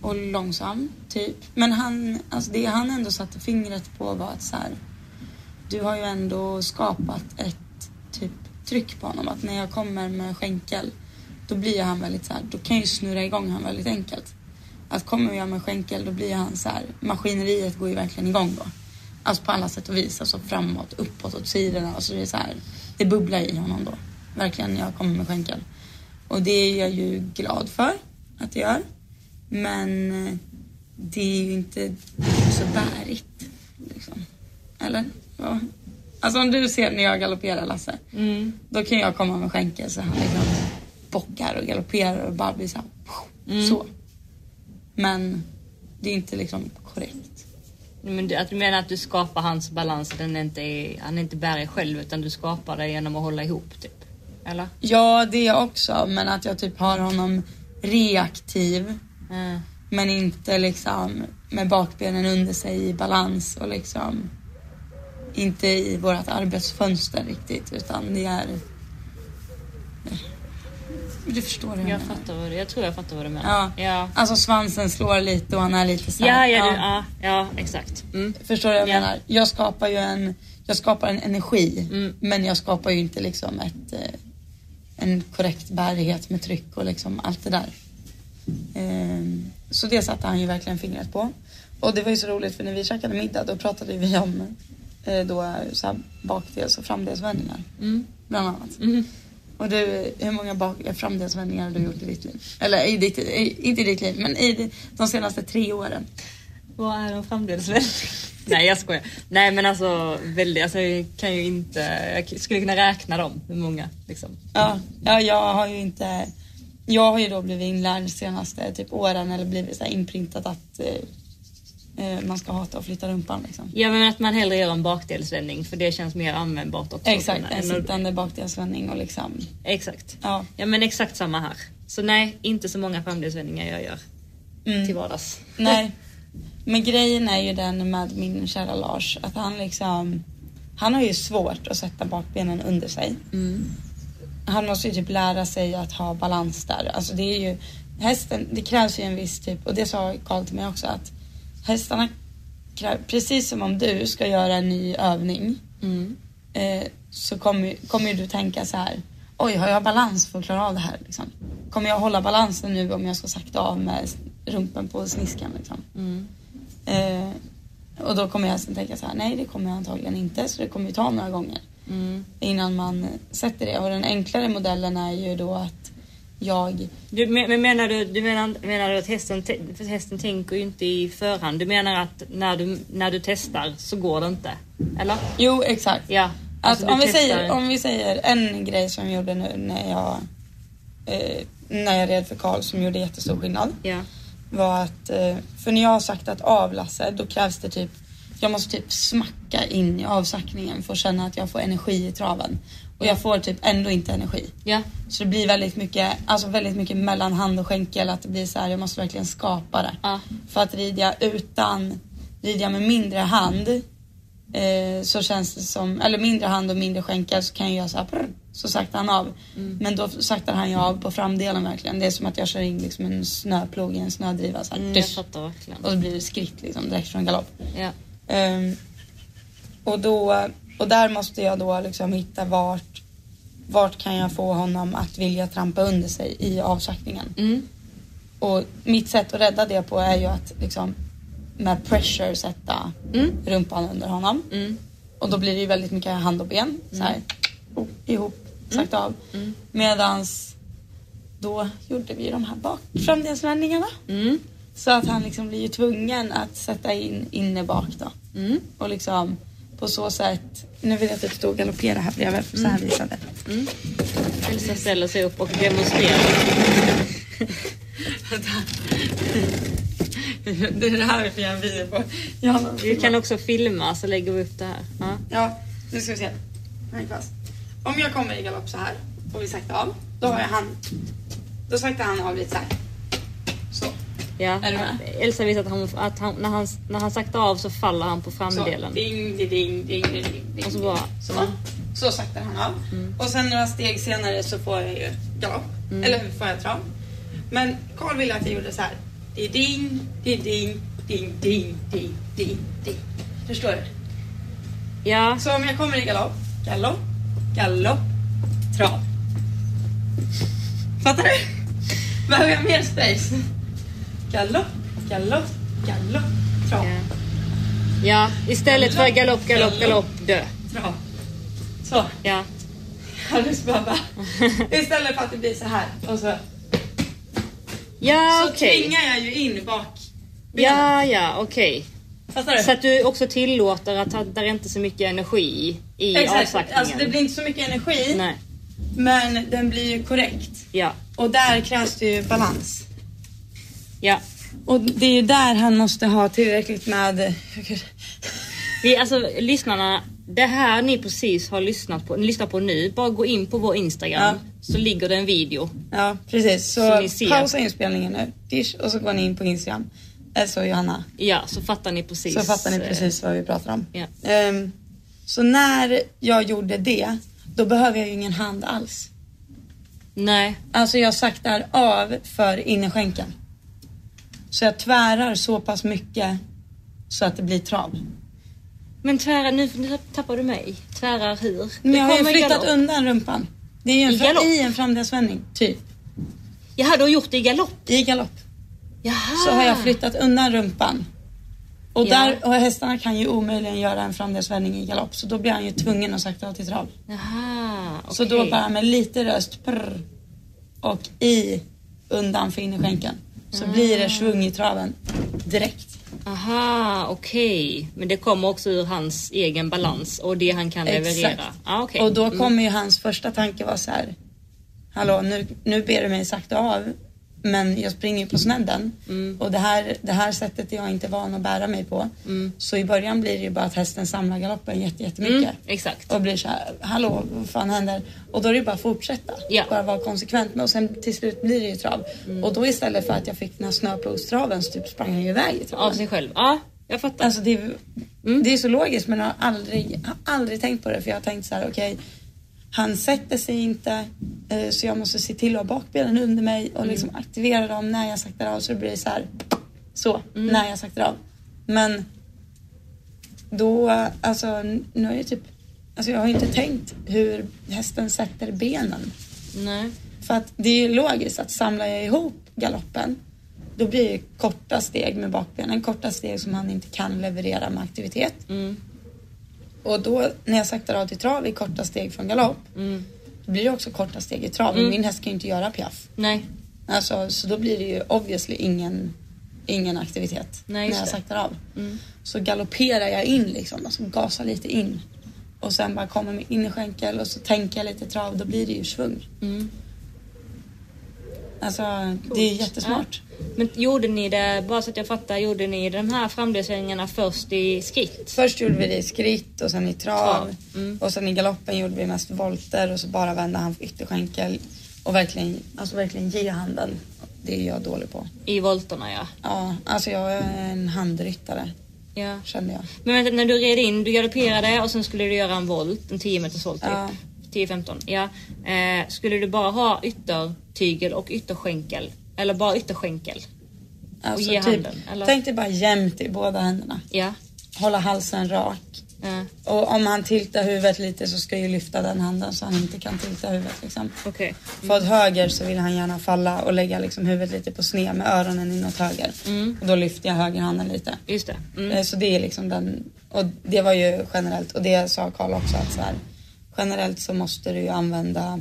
Speaker 2: och långsam, typ. Men han, alltså det han ändå satte fingret på var att så här, du har ju ändå skapat ett typ tryck på honom. Att när jag kommer med skänkel, då blir han väldigt så här, då kan jag ju snurra igång han väldigt enkelt. Att kommer jag med skänkel, då blir han så här, maskineriet går ju verkligen igång då. Alltså på alla sätt och vis, alltså framåt, uppåt, åt sidorna. Alltså det är så här, det bubblar i honom då. Verkligen, när jag kommer med skänkel. Och det är jag ju glad för att jag gör. Men eh, det är ju inte det är ju så bärigt. Liksom. Eller? Ja. Alltså om du ser när jag galopperar Lasse.
Speaker 1: Mm.
Speaker 2: Då kan jag komma med skänkel så han liksom bockar och galopperar och bara blir så här, Så. Men det är inte liksom korrekt.
Speaker 1: Men du, att du menar att du skapar hans balans, den är inte är, han är inte bärig själv utan du skapar det genom att hålla ihop typ? Eller?
Speaker 2: Ja, det är jag också. Men att jag typ har honom reaktiv.
Speaker 1: Mm.
Speaker 2: Men inte liksom med bakbenen under sig i balans och liksom inte i vårt arbetsfönster riktigt utan det är... Du förstår det
Speaker 1: Jag fattar vad du, jag tror jag fattar vad du menar.
Speaker 2: Ja.
Speaker 1: Mm. Ja.
Speaker 2: Alltså svansen slår lite och han är lite så
Speaker 1: Ja,
Speaker 2: här-
Speaker 1: ja, du, ja, ja exakt. Mm.
Speaker 2: Förstår du vad jag
Speaker 1: Ja.
Speaker 2: menar? Jag skapar ju en, jag skapar en energi men jag skapar ju inte liksom ett, eh, en korrekt bärighet med tryck och liksom allt det där. Ehm, Så det satte han ju verkligen fingret på. Och det var ju så roligt för när vi käkade middag då pratade vi om eh, då så här bakdels och framdelsvändningar.
Speaker 1: Mm.
Speaker 2: Bland annat. Och du, hur många bak eh, framdelsvändningar har du gjort i ditt liv? Eller i ditt, i, inte i ditt liv men i di- de senaste tre åren.
Speaker 1: Vad är en framdelsvändning? Nej jag skojar. Nej men alltså, väldigt, alltså jag kan ju inte, jag skulle kunna räkna dem, hur många liksom.
Speaker 2: Ja, ja, jag har ju inte... Jag har ju då blivit inlärd de senaste typ åren eller blivit så här inprintat att eh, eh, man ska hata att flytta rumpan liksom.
Speaker 1: Ja men att man hellre gör en bakdelsvändning för det känns mer användbart också.
Speaker 2: Exakt, en
Speaker 1: Än att-
Speaker 2: sittande bakdelsvändning och liksom...
Speaker 1: Exakt.
Speaker 2: Ja.
Speaker 1: Ja men exakt samma här. Så nej, inte så många framdelsvändningar jag gör till
Speaker 2: Mm.
Speaker 1: vardags.
Speaker 2: Nej. Men grejen är ju den med min kära Lars att han liksom... Han har ju svårt att sätta bakbenen under sig. Han måste ju typ lära sig att ha balans där. Alltså det är ju... Hästen, det krävs ju en viss typ... Och det sa Karl till mig också att hästarna kräver... Precis som om du ska göra en ny övning eh, så kommer, ju- kommer ju du tänka så här. Oj, har jag balans för att klara av det här? Liksom? Kommer jag hålla balansen nu om jag ska sakta av med s- rumpen på sniskan? Liksom? Eh, och då kommer jag sen tänka så här. Nej, det kommer jag antagligen inte. Så det kommer ju ta några gånger mm. innan man sätter det. Och den enklare modellen är ju då att jag...
Speaker 1: Du, men men menar du, du menar, menar du att hästen, te- för hästen tänker ju inte i förhand? Du menar att när du, när du testar så går det inte? Eller?
Speaker 2: Jo, exakt.
Speaker 1: Ja. Alltså,
Speaker 2: att om,
Speaker 1: du
Speaker 2: vi säger,
Speaker 1: testar.
Speaker 2: om vi säger en grej som jag gjorde nu när jag, eh, när jag red för Karl som gjorde jättestor skillnad
Speaker 1: Ja.
Speaker 2: var att, eh, för när jag har saktat av Lasse då krävs det typ, jag måste typ smacka in i avsackningen för att känna att jag får energi i traven. Och jag får typ ändå inte energi.
Speaker 1: Ja.
Speaker 2: Så det blir väldigt mycket, alltså väldigt mycket mellan hand och skänkel. Att det blir så här, jag måste verkligen skapa det.
Speaker 1: Ja.
Speaker 2: För att rider jag utan, rider jag med mindre hand eh, så känns det som, eller mindre hand och mindre skänkel så kan jag göra så här, prr, så saktar han av.
Speaker 1: Mm.
Speaker 2: Men då saktar han ju av på framdelen verkligen. Det är som att jag kör in liksom en snöplog i en snödriva så här,
Speaker 1: Mm, jag
Speaker 2: dysch.
Speaker 1: fattar verkligen.
Speaker 2: Och så blir det skritt liksom direkt från galopp.
Speaker 1: Ja.
Speaker 2: Ehm, och, då, och där måste jag då liksom hitta vart, vart kan jag få honom att vilja trampa under sig i avsaktningen.
Speaker 1: Mm.
Speaker 2: Och mitt sätt att rädda det på är ju att liksom med pressure sätta
Speaker 1: Mm.
Speaker 2: rumpan under honom.
Speaker 1: Mm.
Speaker 2: Och då blir det ju väldigt mycket hand och ben så här, oh, ihop,
Speaker 1: Mm.
Speaker 2: sakta av. Medans då gjorde vi ju de här bak framdelsvändningarna.
Speaker 1: Mm.
Speaker 2: Så att han liksom blir ju tvungen att sätta in inne bak då.
Speaker 1: Mm.
Speaker 2: Och liksom på så sätt, nu vill jag att du stå och galoppera här bredvid, så här visade.
Speaker 1: Elsa ställer sig upp och demonstrerar.
Speaker 2: Det är det här vi får göra en video på. Ja, men-
Speaker 1: Vi kan också filma så lägger vi upp det här. Ja.
Speaker 2: Ja, nu ska vi se. Häng fast. Om jag kommer i galopp så här och vi saktar av, då har jag han. Då saktar han av lite så här. Så.
Speaker 1: Ja.
Speaker 2: Är du med?
Speaker 1: Elsa visar att, han, att han, när, han, när han saktar av så faller han på
Speaker 2: Så.
Speaker 1: framdelen.
Speaker 2: Ding, di, ding, ding, di, ding, ding.
Speaker 1: Och så bara-
Speaker 2: Så. Mm. Så saktar han av. Och sen några steg senare så får jag ju galopp. Eller får jag trav. Men Carl ville att jag gjorde så här. Di, ding, di, ding, ding, ding, ding, ding, ding. Förstår du?
Speaker 1: Ja.
Speaker 2: Så om jag kommer i galopp, galopp, galopp, trav. Fattar du? Behöver jag mer space? Galopp, galopp, galopp, trav,
Speaker 1: Ja. ja. Istället för galopp, galopp, galopp, dö.
Speaker 2: trav. Så,
Speaker 1: Ja.
Speaker 2: Alice Baba. Istället för att det blir så här och så,
Speaker 1: Ja
Speaker 2: så
Speaker 1: okej.
Speaker 2: tvingar jag ju in bak.
Speaker 1: Ja ja okej.
Speaker 2: Fattar du?
Speaker 1: Så att du också tillåter att han- där är inte så mycket energi i
Speaker 2: Exakt.
Speaker 1: avsaktningen.
Speaker 2: Alltså det blir inte så mycket energi
Speaker 1: Nej.
Speaker 2: men den blir ju korrekt.
Speaker 1: Ja.
Speaker 2: Och där krävs det ju balans.
Speaker 1: Ja.
Speaker 2: Och det är ju där han måste ha tillräckligt med...
Speaker 1: Vi, alltså lyssnarna, det här ni precis har lyssnat på, ni lyssnar på nu, bara gå in på vår Instagram så ligger det en video.
Speaker 2: Ja, precis.
Speaker 1: Så
Speaker 2: Så,
Speaker 1: ni ser.
Speaker 2: pausa inspelningen nu. Dish, och så går ni in på Instagram. Eller så Johanna.
Speaker 1: Ja, så fattar ni precis. eh,
Speaker 2: Så fattar ni precis vad vi pratar om.
Speaker 1: Ja.
Speaker 2: Ehm, så när jag gjorde det, då behöver jag ju ingen hand alls.
Speaker 1: eh, Nej.
Speaker 2: Alltså jag saktar av för innerskänken. Så jag tvärar så pass mycket så att det blir trav.
Speaker 1: Men tvära, nu, nu tappar du mig. Tvärar hur?
Speaker 2: Men
Speaker 1: Det
Speaker 2: jag har ju
Speaker 1: kommer
Speaker 2: flyttat
Speaker 1: galopp.
Speaker 2: undan rumpan. Det är ju en,
Speaker 1: I
Speaker 2: fra-
Speaker 1: galopp?
Speaker 2: i en framdelsvändning, typ.
Speaker 1: Jaha, du har gjort det i galopp?
Speaker 2: I galopp.
Speaker 1: Jaha.
Speaker 2: så har jag flyttat undan rumpan. Och,
Speaker 1: Ah. Ja.
Speaker 2: där, och hästarna kan ju omöjligen göra en framdelsvändning i galopp så då blir han ju tvungen att sakta av till trav.
Speaker 1: Jaha,
Speaker 2: Så då
Speaker 1: okej.
Speaker 2: bara med lite röst prr, och i undan för innerskänken så
Speaker 1: Ah.
Speaker 2: blir det svung i traven direkt.
Speaker 1: Aha, okej. Men det kommer också ur hans egen balans och det han kan leverera. Ah, okej.
Speaker 2: Och då kommer ju hans första tanke vara så här. Hallå, nu, nu ber du mig sakta av men jag springer ju på snedden
Speaker 1: Mm.
Speaker 2: och det här, det här sättet är jag inte van att bära mig på. Så i början blir det ju bara att hästen samlar galoppen jätte- jättemycket.
Speaker 1: Mm, exakt.
Speaker 2: och blir så här, hallå vad fan händer? Och då är det ju bara att fortsätta.
Speaker 1: Ja. Mm.
Speaker 2: Bara vara konsekvent med och sen till slut blir det ju trav. Och då istället för att jag fick den här snöplogstraven så typ sprang han ju iväg i traven.
Speaker 1: Av sig själv. Ja, jag fattar. Mm.
Speaker 2: Alltså det, är- det är så logiskt men jag har aldrig, jag har aldrig tänkt på det för jag har tänkt så här: okej han sätter sig inte eh, så jag måste se till att ha bakbenen under mig
Speaker 1: Mm.
Speaker 2: och liksom aktivera dem när jag saktar av så det blir så här, så,
Speaker 1: Mm.
Speaker 2: när jag saktar av. Men då, alltså nu är jag typ, alltså jag har inte tänkt hur hästen sätter benen.
Speaker 1: Nej.
Speaker 2: För att det är ju logiskt att samlar jag ihop galoppen då blir det korta steg med bakbenen, korta steg som han inte kan leverera med aktivitet.
Speaker 1: Mm,
Speaker 2: Och då när jag saktar av till trav i korta steg från galopp
Speaker 1: mm.
Speaker 2: då blir det också korta steg i trav. Men Min häst kan ju inte göra piaff.
Speaker 1: Nej.
Speaker 2: Alltså, så då blir det ju obviously ingen, ingen aktivitet
Speaker 1: Nej,
Speaker 2: när
Speaker 1: just
Speaker 2: jag
Speaker 1: det. Mm.
Speaker 2: saktar av. Så galopperar jag in liksom, alltså gasar lite in. och sen bara kommer med innerskänkel och så tänker jag lite trav, då blir det ju svung.
Speaker 1: Mm.
Speaker 2: Alltså det är jättesmart.
Speaker 1: Men gjorde ni det, bara så att jag fattar, gjorde ni de här framdelsvängarna först i skritt?
Speaker 2: Först gjorde vi det i skritt och sen i trav.
Speaker 1: Trav, mm.
Speaker 2: Och sen i galoppen gjorde vi mest volter och så bara vände han på ytterskänkel. Och verkligen, alltså verkligen ge handen. Det är jag dålig på.
Speaker 1: I volterna ja.
Speaker 2: Ja, alltså jag är en handryttare
Speaker 1: ja.
Speaker 2: kände jag.
Speaker 1: Men vänta, när du red in, du galopperade och sen skulle du göra en volt, en 10 meters volt typ.
Speaker 2: Ja.
Speaker 1: 10-15, ja. Eh, skulle du bara ha yttertygel och ytterskänkel? Eller bara ytterskänkel?
Speaker 2: Alltså,
Speaker 1: ge
Speaker 2: typ,
Speaker 1: handen, eller?
Speaker 2: Tänk dig bara jämnt i båda händerna.
Speaker 1: Ja.
Speaker 2: Hålla halsen rak.
Speaker 1: Eh,
Speaker 2: Och om han tiltar huvudet lite så ska jag ju lyfta den handen så han inte kan tilta huvudet. Liksom.
Speaker 1: Okej.
Speaker 2: För åt höger så vill han gärna falla och lägga liksom huvudet lite på sned med öronen inåt höger.
Speaker 1: Mm.
Speaker 2: Och då lyfter jag högerhanden lite.
Speaker 1: Just det. Mm.
Speaker 2: Eh, Så det är liksom den, och det var ju generellt och det sa Karl också att så här, generellt så måste du ju använda,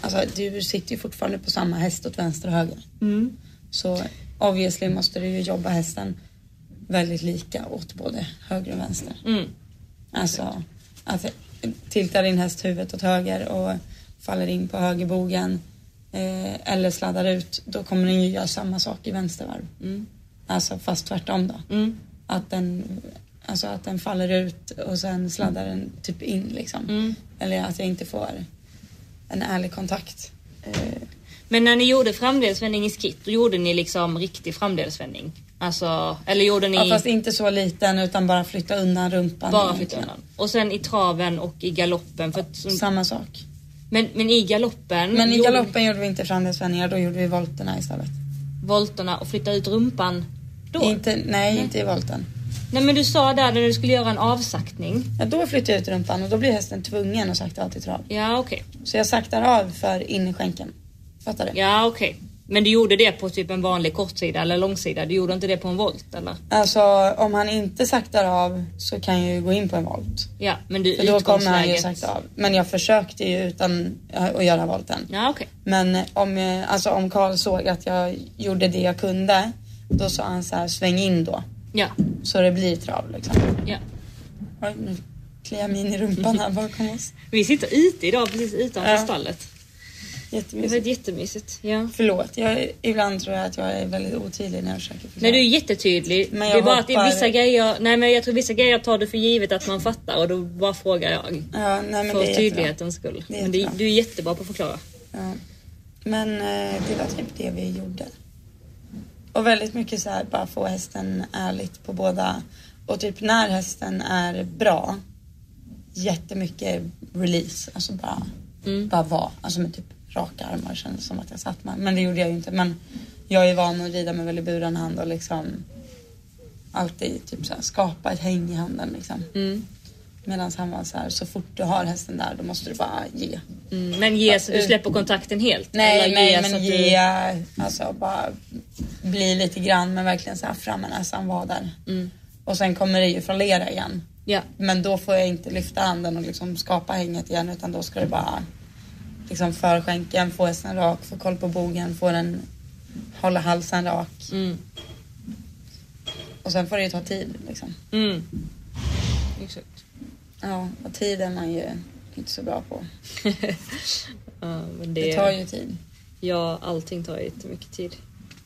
Speaker 2: alltså du sitter ju fortfarande på samma häst åt vänster och höger.
Speaker 1: Mm.
Speaker 2: Så obviously måste du ju jobba hästen väldigt lika åt både höger och vänster.
Speaker 1: Mm.
Speaker 2: Alltså att tiltar din häst huvudet åt höger och faller in på högerbogen eh, eller sladdar ut, då kommer den ju göra samma sak i vänstervarv.
Speaker 1: Mm.
Speaker 2: Alltså fast tvärtom då
Speaker 1: Mm.
Speaker 2: att den, alltså att den faller ut och sen sladdar den typ in liksom.
Speaker 1: Mm.
Speaker 2: Eller att jag inte får en ärlig kontakt. Eh,
Speaker 1: Men när ni gjorde framdelsvändning i skritt, då gjorde ni liksom riktig framdelsvändning? Alltså, eller gjorde ni
Speaker 2: ja, fast inte så liten utan bara flytta undan rumpan.
Speaker 1: bara flytta
Speaker 2: egentligen.
Speaker 1: undan? Mm. Och sen i traven och i galoppen? För att,
Speaker 2: Samma sak.
Speaker 1: men, men i galoppen?
Speaker 2: Men i
Speaker 1: gjorde ni
Speaker 2: galoppen gjorde vi inte framdelsvändningar, då gjorde vi volterna istället.
Speaker 1: Volterna och flytta ut rumpan då?
Speaker 2: Inte, nej, inte i volten.
Speaker 1: Nej men du sa där när du skulle göra en avsaktning.
Speaker 2: Ja, då flyttar jag ut rumpan och då blir hästen tvungen att sakta av till trav.
Speaker 1: Ja okej.
Speaker 2: Så jag saktar av för innerskänkeln. Fattar du?
Speaker 1: Ja okej. Men du gjorde det på typ en vanlig kortsida eller långsida? Du gjorde inte det på en volt eller?
Speaker 2: Alltså om han inte saktar av så kan jag ju gå in på en volt.
Speaker 1: Ja men du
Speaker 2: För då kommer han ju
Speaker 1: utgångsläget-
Speaker 2: sagt av. Men jag försökte ju utan att göra volten.
Speaker 1: Ja okej.
Speaker 2: Men om, jag- alltså om Karl såg att jag gjorde det jag kunde, då sa han så här sväng in då.
Speaker 1: Ja.
Speaker 2: Så det blir trav liksom.
Speaker 1: ja.
Speaker 2: Oj, nu kliar jag mig in i rumpan här bakom oss.
Speaker 1: Vi sitter ute idag precis utanför
Speaker 2: Ja.
Speaker 1: stallet. Det var
Speaker 2: Jättemysigt.
Speaker 1: jättemysigt. Ja.
Speaker 2: Förlåt, jag, ibland tror jag att jag är väldigt otydlig när jag försöker förklara.
Speaker 1: Nej du är jättetydlig.
Speaker 2: Men
Speaker 1: det är
Speaker 2: jag
Speaker 1: bara att det är
Speaker 2: hoppar-
Speaker 1: vissa grejer, nej men jag tror vissa grejer tar du för givet att man fattar och då bara frågar jag.
Speaker 2: Ja, nej men
Speaker 1: för
Speaker 2: det är jättebra.
Speaker 1: tydlighetens skull.
Speaker 2: Det är
Speaker 1: men det,
Speaker 2: jättebra.
Speaker 1: du är jättebra på att förklara.
Speaker 2: Ja. Men eh, det var typ det vi gjorde. Och väldigt mycket så här bara få hästen ärligt på båda. Och typ när hästen är bra, jättemycket release. Alltså bara,
Speaker 1: Mm.
Speaker 2: bara vara. Alltså med typ raka armar kändes som att jag satt med. Men det gjorde jag ju inte. Men jag är van att rida med väldigt buren hand och liksom alltid typ så här, skapa ett häng i handen liksom.
Speaker 1: Mm.
Speaker 2: Medan han var så här, så fort du har hästen där då måste du bara ge.
Speaker 1: Mm. Men ge så du släpper kontakten helt?
Speaker 2: Nej,
Speaker 1: Eller
Speaker 2: nej
Speaker 1: så
Speaker 2: men
Speaker 1: att
Speaker 2: ge, alltså bara bli lite grann men verkligen så här fram med näsan, var där.
Speaker 1: Du... Mm.
Speaker 2: Och sen kommer det ju från lera igen.
Speaker 1: Ja.
Speaker 2: Men då får jag inte lyfta handen och liksom skapa hänget igen utan då ska det bara liksom förskänken, få hästen rak, få koll på bogen, få den hålla halsen rak.
Speaker 1: Mm.
Speaker 2: Och sen får det ju ta tid liksom.
Speaker 1: Mm. Exakt.
Speaker 2: Ja, och tid är man ju inte så bra på.
Speaker 1: Ja, men det,
Speaker 2: Det tar ju tid.
Speaker 1: Ja, allting tar jättemycket tid.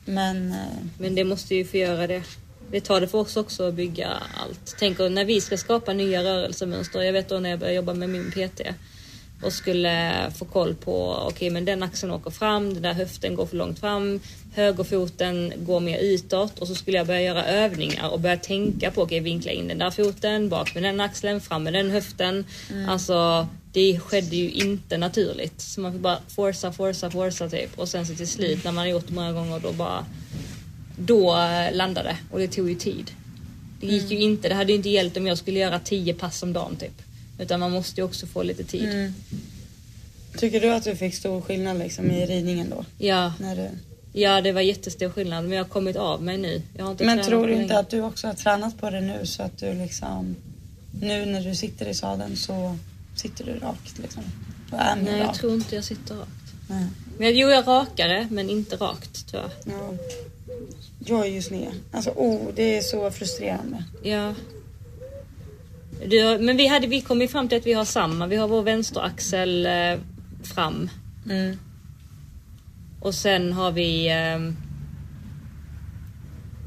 Speaker 2: Men eh,
Speaker 1: Men det måste ju få göra det. Det tar det för oss också att bygga allt. Tänk om när vi ska skapa nya rörelsemönster. Jag vet då när jag började jobba med min PT och skulle få koll på, okej men den axeln åker fram, den där höften går för långt fram, högerfoten går mer utåt och så skulle jag börja göra övningar och börja tänka på, okej vinkla in den där foten, bak med den axeln, fram med den höften. Alltså det skedde ju inte naturligt. Så man fick bara forsa, forsa, forsa typ och sen så till slut när man har gjort det många gånger då bara då eh, landade det och det tog ju tid. Det gick
Speaker 2: Mm.
Speaker 1: ju inte, det hade ju inte hjälpt om jag skulle göra 10 pass om dagen typ. Utan man måste ju också få lite tid.
Speaker 2: mm. tycker du att du fick stor skillnad liksom i ridningen då?
Speaker 1: Ja,
Speaker 2: När du...
Speaker 1: ja, det var jättestor skillnad men jag har kommit av mig nu. Jag har inte
Speaker 2: Men
Speaker 1: tränat
Speaker 2: tror
Speaker 1: på
Speaker 2: du inte
Speaker 1: länge.
Speaker 2: att du också har tränat på det nu så att du liksom nu när du sitter i sadeln så sitter du rakt liksom? Och är mer
Speaker 1: Nej, jag
Speaker 2: rak?
Speaker 1: tror inte jag sitter rakt.
Speaker 2: Nej.
Speaker 1: Men jag- jo, jag är rakare men inte rakt tror jag.
Speaker 2: Ja. Jag är ju sned. Alltså oh, det är så frustrerande.
Speaker 1: Ja. Du, har- men vi, hade, vi kom ju fram till att vi har samma. Vi har vår vänsteraxel eh, fram.
Speaker 2: Mm.
Speaker 1: Och sen har vi eh,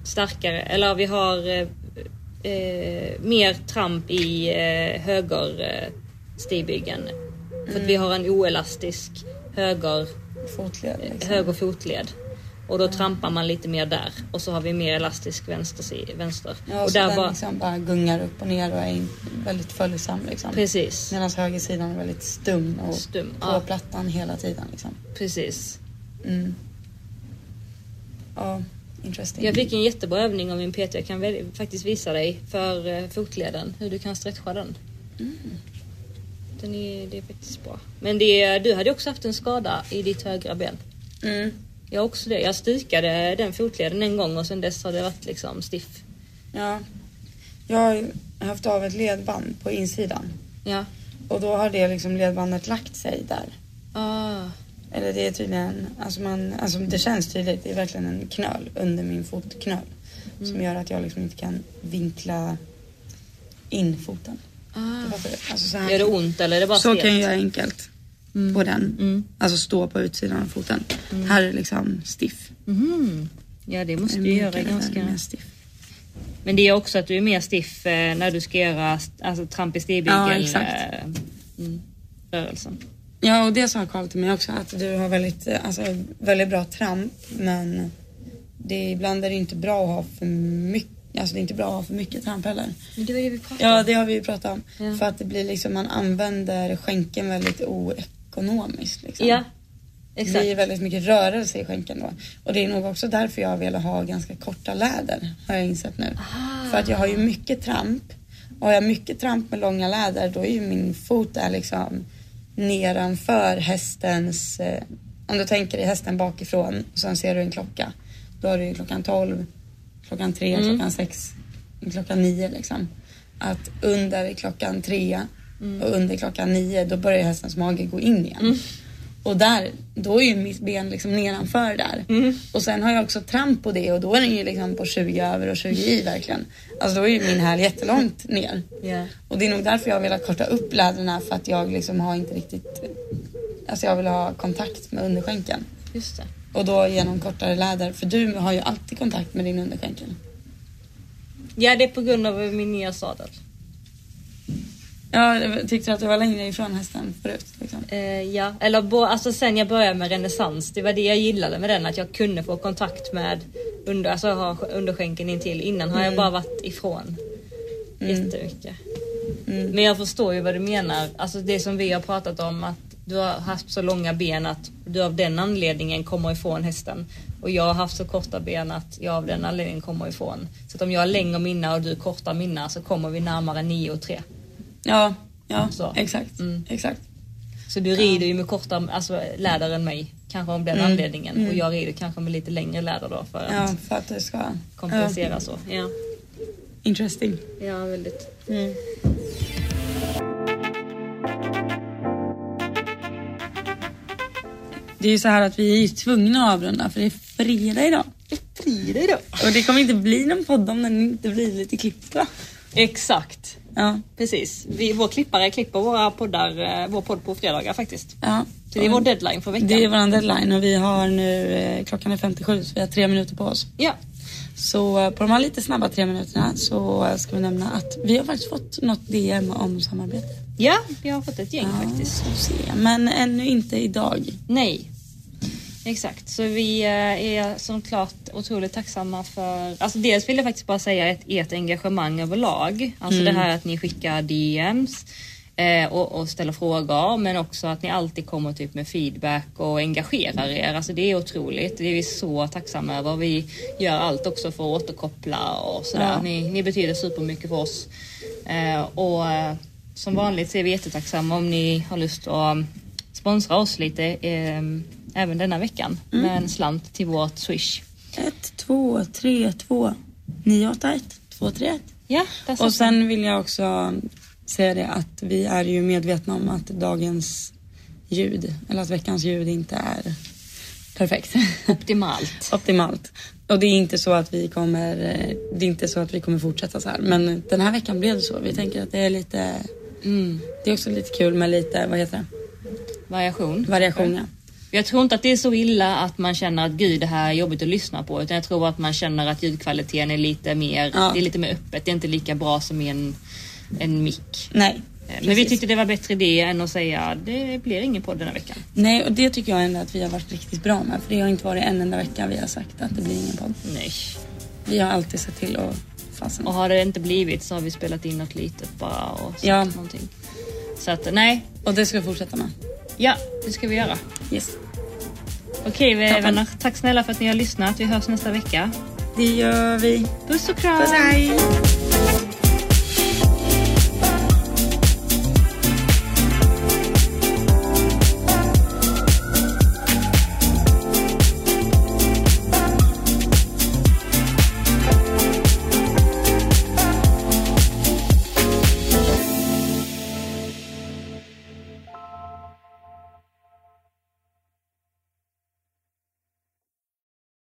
Speaker 1: starkare, eller vi har eh, eh, mer tramp i eh, höger eh, stigbyggen. För
Speaker 2: Mm.
Speaker 1: att vi har en oelastisk höger,
Speaker 2: Fotled. Liksom.
Speaker 1: höger fotled. Och då trampar man lite mer där. Och så har vi mer elastisk vänster. si- vänster.
Speaker 2: Ja,
Speaker 1: och
Speaker 2: så
Speaker 1: där
Speaker 2: den
Speaker 1: var,
Speaker 2: liksom bara gungar upp och ner och är in, väldigt följsam. Liksom.
Speaker 1: Precis.
Speaker 2: Medan högersidan är väldigt stum och
Speaker 1: Stum,
Speaker 2: på
Speaker 1: ja.
Speaker 2: plattan hela tiden. Liksom.
Speaker 1: Precis.
Speaker 2: Mm. Ja, interesting.
Speaker 1: Jag fick en jättebra övning av min PT. Jag kan väl, faktiskt visa dig för eh, fotleden hur du kan stretcha den.
Speaker 2: Mm.
Speaker 1: den är, det är faktiskt bra. Men det, du hade också haft en skada i ditt högra ben.
Speaker 2: Mm.
Speaker 1: Jag har också det. Jag stukade den fotleden en gång och sen dess har det varit liksom stiff.
Speaker 2: Ja. Jag har ju haft av ett ledband på insidan.
Speaker 1: Ja.
Speaker 2: Och då har det liksom ledbandet lagt sig där.
Speaker 1: Ah.
Speaker 2: Eller det är tydligen, alltså, man, alltså det känns tydligt. Det är verkligen en knöl under min fotknöl.
Speaker 1: Mm.
Speaker 2: Som gör att jag liksom inte kan vinkla in foten.
Speaker 1: Ah.
Speaker 2: Varför? Alltså så här.
Speaker 1: Gör det ont eller är det bara
Speaker 2: så
Speaker 1: stelt?
Speaker 2: kan jag göra enkelt. På den.
Speaker 1: Mm.
Speaker 2: Alltså stå på utsidan av foten. Här är liksom stiff.
Speaker 1: Mhm. Ja det måste
Speaker 2: Mm,
Speaker 1: du göra ganska...
Speaker 2: Mer stiff.
Speaker 1: Men det är också att du är mer stiff eh, när du ska göra st- alltså, tramp i stigbygel
Speaker 2: Ja, exakt.
Speaker 1: eh, mm, rörelsen.
Speaker 2: Ja och det sa Carl till mig också att du har väldigt, eh, alltså, väldigt bra tramp men det är, ibland är det inte bra att ha för mycket Alltså det är inte bra att ha för mycket tramp heller.
Speaker 1: Men det var det vi pratade
Speaker 2: Ja det har vi ju pratat om.
Speaker 1: Ja.
Speaker 2: För att det blir liksom, man använder skänken väldigt oekonomiskt. Liksom.
Speaker 1: Ja,
Speaker 2: Det
Speaker 1: exakt.
Speaker 2: blir väldigt mycket rörelse i skänken då. Och det är nog också därför jag vill ha ganska korta läder har jag insett nu. För att jag har ju mycket tramp. Och har jag mycket tramp med långa läder då är ju min fot där liksom nedanför hästens, eh, om du tänker dig hästen bakifrån och sen ser du en klocka. Då har du ju klockan 12, klockan 3, klockan 6, klockan 9 liksom. Att under klockan 3 och under klockan 9 då börjar hästens mage gå in igen. Och där, då är ju mitt ben liksom nedanför där. Och sen har jag också tramp på det och då är den ju liksom på 20 över och 20 i verkligen. Alltså då är ju min häl jättelångt ner.
Speaker 1: Ja.
Speaker 2: Och det är nog därför jag har velat korta upp läderna för att jag liksom har inte riktigt... Alltså jag vill ha kontakt med underskänken.
Speaker 1: Just det.
Speaker 2: Och då genom kortare läder, för du har ju alltid kontakt med din underskänkel.
Speaker 1: Ja, det är på grund av min nya sadel.
Speaker 2: Ja, tyckte du att du var längre ifrån hästen förut? Liksom.
Speaker 1: Eh, ja, eller bo, alltså sen jag började med renässans, det var det jag gillade med den, att jag kunde få kontakt med under, alltså ha sk- underskänken intill. Innan har jag bara varit ifrån jättemycket.
Speaker 2: Mm.
Speaker 1: Men jag förstår ju vad du menar, alltså det som vi har pratat om att du har haft så långa ben att du av den anledningen kommer ifrån hästen. Och jag har haft så korta ben att jag av den anledningen kommer ifrån. Så att om jag har längre minna och du korta minna så kommer vi närmare 9 och 3.
Speaker 2: Ja, ja
Speaker 1: Så.
Speaker 2: exakt.
Speaker 1: Mm.
Speaker 2: exakt.
Speaker 1: Så du rider ju med kortare alltså, läder än mig, kanske av den
Speaker 2: Mm.
Speaker 1: anledningen. Och jag rider kanske med lite längre läder då för att
Speaker 2: Ja, för att du ska...
Speaker 1: kompensera
Speaker 2: Ja.
Speaker 1: så. Ja.
Speaker 2: Interesting.
Speaker 1: ja, väldigt.
Speaker 2: Det är ju så här att vi är ju tvungna att avrunda för det är fredag idag. Det är fredag idag. Och det kommer inte bli någon podd om den inte blir lite klippt va?
Speaker 1: Exakt,
Speaker 2: Ja.
Speaker 1: precis. Vi, vår klippare klipper våra poddar, eh, vår podd på fredagar faktiskt.
Speaker 2: ja.
Speaker 1: Så det är vår deadline för veckan.
Speaker 2: Det är vår deadline och vi har nu, eh, klockan är 57 så vi har tre minuter på oss.
Speaker 1: Ja,
Speaker 2: Så eh, på de här lite snabba tre minuterna så eh, ska vi nämna att vi har faktiskt fått något DM om samarbete.
Speaker 1: ja vi har fått ett gäng faktiskt.
Speaker 2: så vi får se. Men ännu inte idag.
Speaker 1: Nej. Exakt, så vi eh, är som klart otroligt tacksamma för... Alltså dels vill jag faktiskt bara säga ett, ert engagemang överlag. Alltså det här att ni skickar DMs eh, och, och ställer frågor men också att ni alltid kommer typ med feedback och engagerar er. Alltså det är otroligt, det är vi så tacksamma över. Vi gör allt också för att återkoppla och sådär.
Speaker 2: Ja.
Speaker 1: Ni, ni betyder supermycket för oss. Eh, och eh, som vanligt så är vi jättetacksamma om ni har lust att sponsra oss lite eh, även denna veckan med en slant till vårt swish.
Speaker 2: 1, 2, 3, 2, 9, 8, 1, 2, 3, 1.
Speaker 1: Ja, där
Speaker 2: Och
Speaker 1: satt den.
Speaker 2: sen vill jag också säga det att vi är ju medvetna om att dagens ljud, eller att veckans ljud inte är perfekt.
Speaker 1: Optimalt.
Speaker 2: Optimalt. Och det är inte så att vi kommer, eh, det är inte så att vi kommer fortsätta så här. Men den här veckan blev det så. Vi tänker att det är lite,
Speaker 1: Mm.
Speaker 2: det är också lite kul med lite, vad heter det,
Speaker 1: Variation.
Speaker 2: variation. Ja.
Speaker 1: Jag tror inte att det är så illa att man känner att gud det här är jobbigt att lyssna på utan jag tror att man känner att ljudkvaliteten är lite mer,
Speaker 2: Ja.
Speaker 1: det är lite mer öppet. Det är inte lika bra som i en, en mick. Eh,
Speaker 2: Nej.
Speaker 1: Men vi
Speaker 2: precis.
Speaker 1: tyckte det var bättre det än att säga det blir ingen podd den här veckan.
Speaker 2: Nej, och det tycker jag ändå att vi har varit riktigt bra med. För det har inte varit en enda vecka vi har sagt att det blir ingen podd.
Speaker 1: Nej.
Speaker 2: Vi har alltid sett till att fasen.
Speaker 1: Och har det inte blivit så har vi spelat in något litet bara och sagt
Speaker 2: Ja.
Speaker 1: någonting. Så att nej,
Speaker 2: Och det ska vi fortsätta med.
Speaker 1: ja det ska vi göra.
Speaker 2: Yes.
Speaker 1: Okej
Speaker 2: Toppen.
Speaker 1: vänner, tack snälla för att ni har lyssnat. Vi hörs nästa vecka.
Speaker 2: Det gör vi.
Speaker 1: Puss och kram!
Speaker 2: Puss, hej.